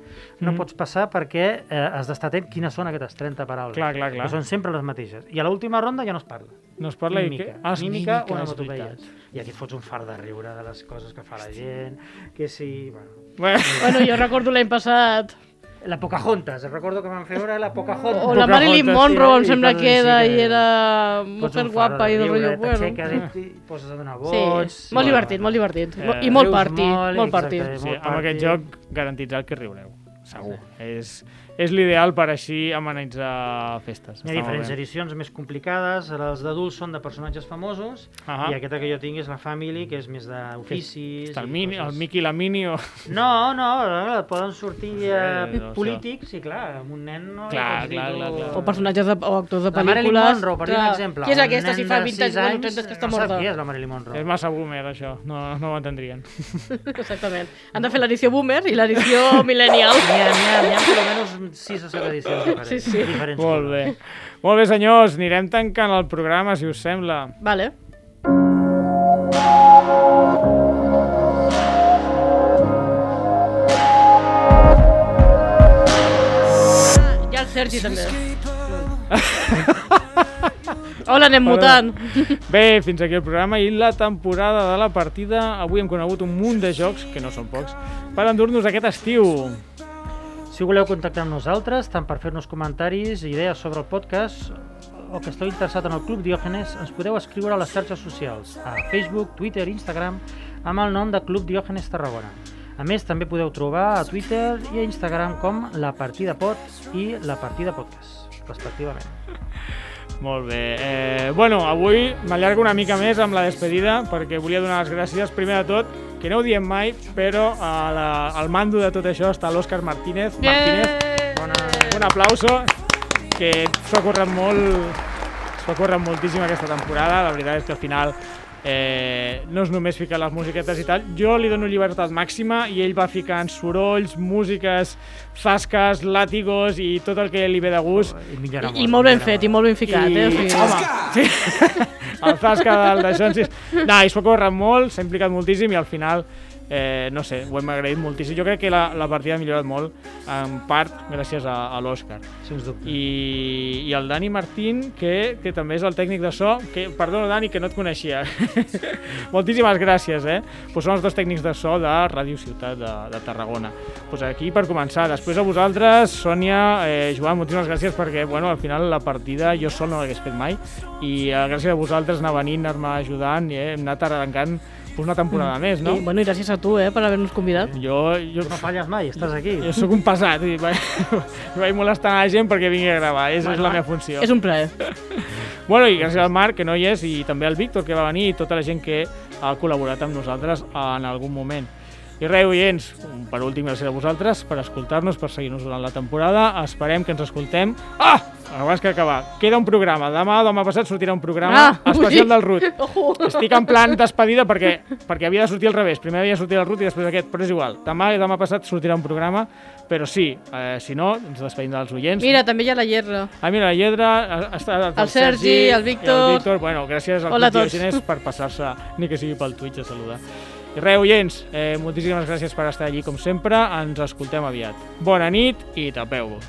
no
Mhm.
pots passar perquè eh, has d'estar atent quines són aquestes 30 paraules.
Clar, clar, clar.
Que són sempre les mateixes. I a l'última ronda ja no es parla.
No es parla i
mímica.
què? Ah, és
mímica, o
mímica, és
onomatopeia.
veritat.
I aquí et fots un fart de riure de les coses que fa la gent, que si... Bueno,
Bueno, jo recordo l'any passat...
La Pocahontas, recordo que van fer veure la Pocahontas.
O la Marilyn Monroe, em sembla que era, i era
Pots
mujer
un faro
guapa
de
i de
riure,
rotllo bueno. (laughs)
t'aixeques i- i poses a donar vots.
Sí, molt divertit, molt divertit.
Eh,
Mo- I molt partit, molt partit.
Sí, amb aquest joc garantitzat que riureu, segur. És, és l'ideal per així amenitzar festes.
Hi ha
Està molt
diferents
bé.
edicions més complicades, les d'adults són de personatges famosos,
Ahà.
i aquesta que jo tinc és la Family, que és més d'oficis...
Està el,
i
mini,
coses.
el Mickey i la Mini o... (laughs)
No, no, eh, poden sortir eh,
no sé.
polítics, i clar, amb un nen... No, Li
Clar,
pots dir
clar, clar,
tu-
clar.
O personatges de, o actors de
La Marilyn
pel·lícules.
Monroe, per dir un
Clar.
exemple,
Qui és
un
aquesta si
nen
fa
de
20 anys,
sis
bueno,
anys
30 que està
no sap
morta?
qui és la Marilyn Monroe.
És massa boomer, això. No, no ho entendrien.
(laughs) Exactament. Han de fer l'edició boomer i
(laughs)
l'edició millennial.
N'hi ha, n'hi ha, n'hi ha per almenys 6 o 7
(laughs)
edicions diferents.
Sí, sí.
diferents
Molt bé. Molt bé, senyors. Anirem tancant el programa, si us sembla.
Vale. Ah, Hi ha el Sergi, també. Hola, anem mutant.
Bé, fins aquí el programa i la temporada de la partida. Avui hem conegut un munt de jocs, que no són pocs, per endur-nos aquest estiu.
Si voleu contactar amb nosaltres, tant per fer-nos comentaris, idees sobre el podcast o que esteu interessat en el Club Diògenes, ens podeu escriure a les xarxes socials, a Facebook, Twitter i Instagram, amb el nom de Club Diògenes Tarragona. A més, també podeu trobar a Twitter i a Instagram com La Partida Pod i La Partida Podcast, respectivament.
Molt bé. Eh, bueno, avui m'allargo una mica més amb la despedida perquè volia donar les gràcies, primer de tot, que no ho diem mai, però a la, al mando de tot això està l'Òscar Martínez.
Eh.
Martínez, bona, un aplauso, que s'ho ha currat molt, s'ho ha currat moltíssim aquesta temporada. La veritat és que al final eh, no és només ficar les musiquetes i tal. Jo li dono llibertat màxima i ell va ficant sorolls, músiques, zasques, làtigos i tot el que li ve de gust. I,
I molt ben fet, i molt ben ficat, eh? O sigui,
Home, sí. (laughs) el Zasca del de Xonsis. No, i s'ho ha corrat molt, s'ha implicat moltíssim i al final, eh, no sé, ho hem agraït moltíssim. Jo crec que la, la partida ha millorat molt, en part gràcies a, a l'Òscar.
Sens dubte.
I, I el Dani Martín, que, que també és el tècnic de so, que, perdona, Dani, que no et coneixia. Moltíssimes gràcies, eh? Pues són els dos tècnics de so de Ràdio Ciutat de, de Tarragona. Pues aquí per començar. Després a vosaltres, Sònia, eh, Joan, moltíssimes gràcies perquè, bueno, al final la partida jo sol no l'hagués fet mai i eh, gràcies a vosaltres anar venint, anar-me ajudant i eh, hem anat arrencant pues, una temporada més, no?
I, Mm. bueno, i gràcies a tu, eh, per haver-nos convidat.
Jo, jo...
No falles mai, estàs aquí.
Jo sóc un pesat i vaig, (laughs) vaig molestant a la gent perquè vingui a gravar, és, és la meva funció.
És un
(laughs)
plaer.
Bueno, i gràcies al Marc, que no hi és, i també al Víctor, que va venir, i tota la gent que ha col·laborat amb nosaltres en algun moment. I res, oients, per últim, gràcies a vosaltres per escoltar-nos, per seguir-nos durant la temporada. Esperem que ens escoltem. Ah! Abans que acabar, queda un programa. Demà, demà passat, sortirà un programa
Ah, ui.
especial
Oh.
del
(laughs)
RUT.
Ojo.
Estic en plan despedida perquè, perquè havia de sortir al revés. Primer havia de sortir el RUT i després aquest, però és igual. Demà i demà passat sortirà un programa, però sí, eh, si no, ens despedim dels oients.
Mira, també hi ha la Gerra.
Ah, mira, la Lledra, ha- ha estat
El Sergi, el Víctor.
i el Víctor. Bueno, gràcies al
Hola a
Hola Club
tots.
Diogenes per passar-se, ni que sigui pel Twitch, a saludar. I res, oients, eh, moltíssimes gràcies per estar allí, com sempre. Ens escoltem aviat. Bona nit i tapeu-vos.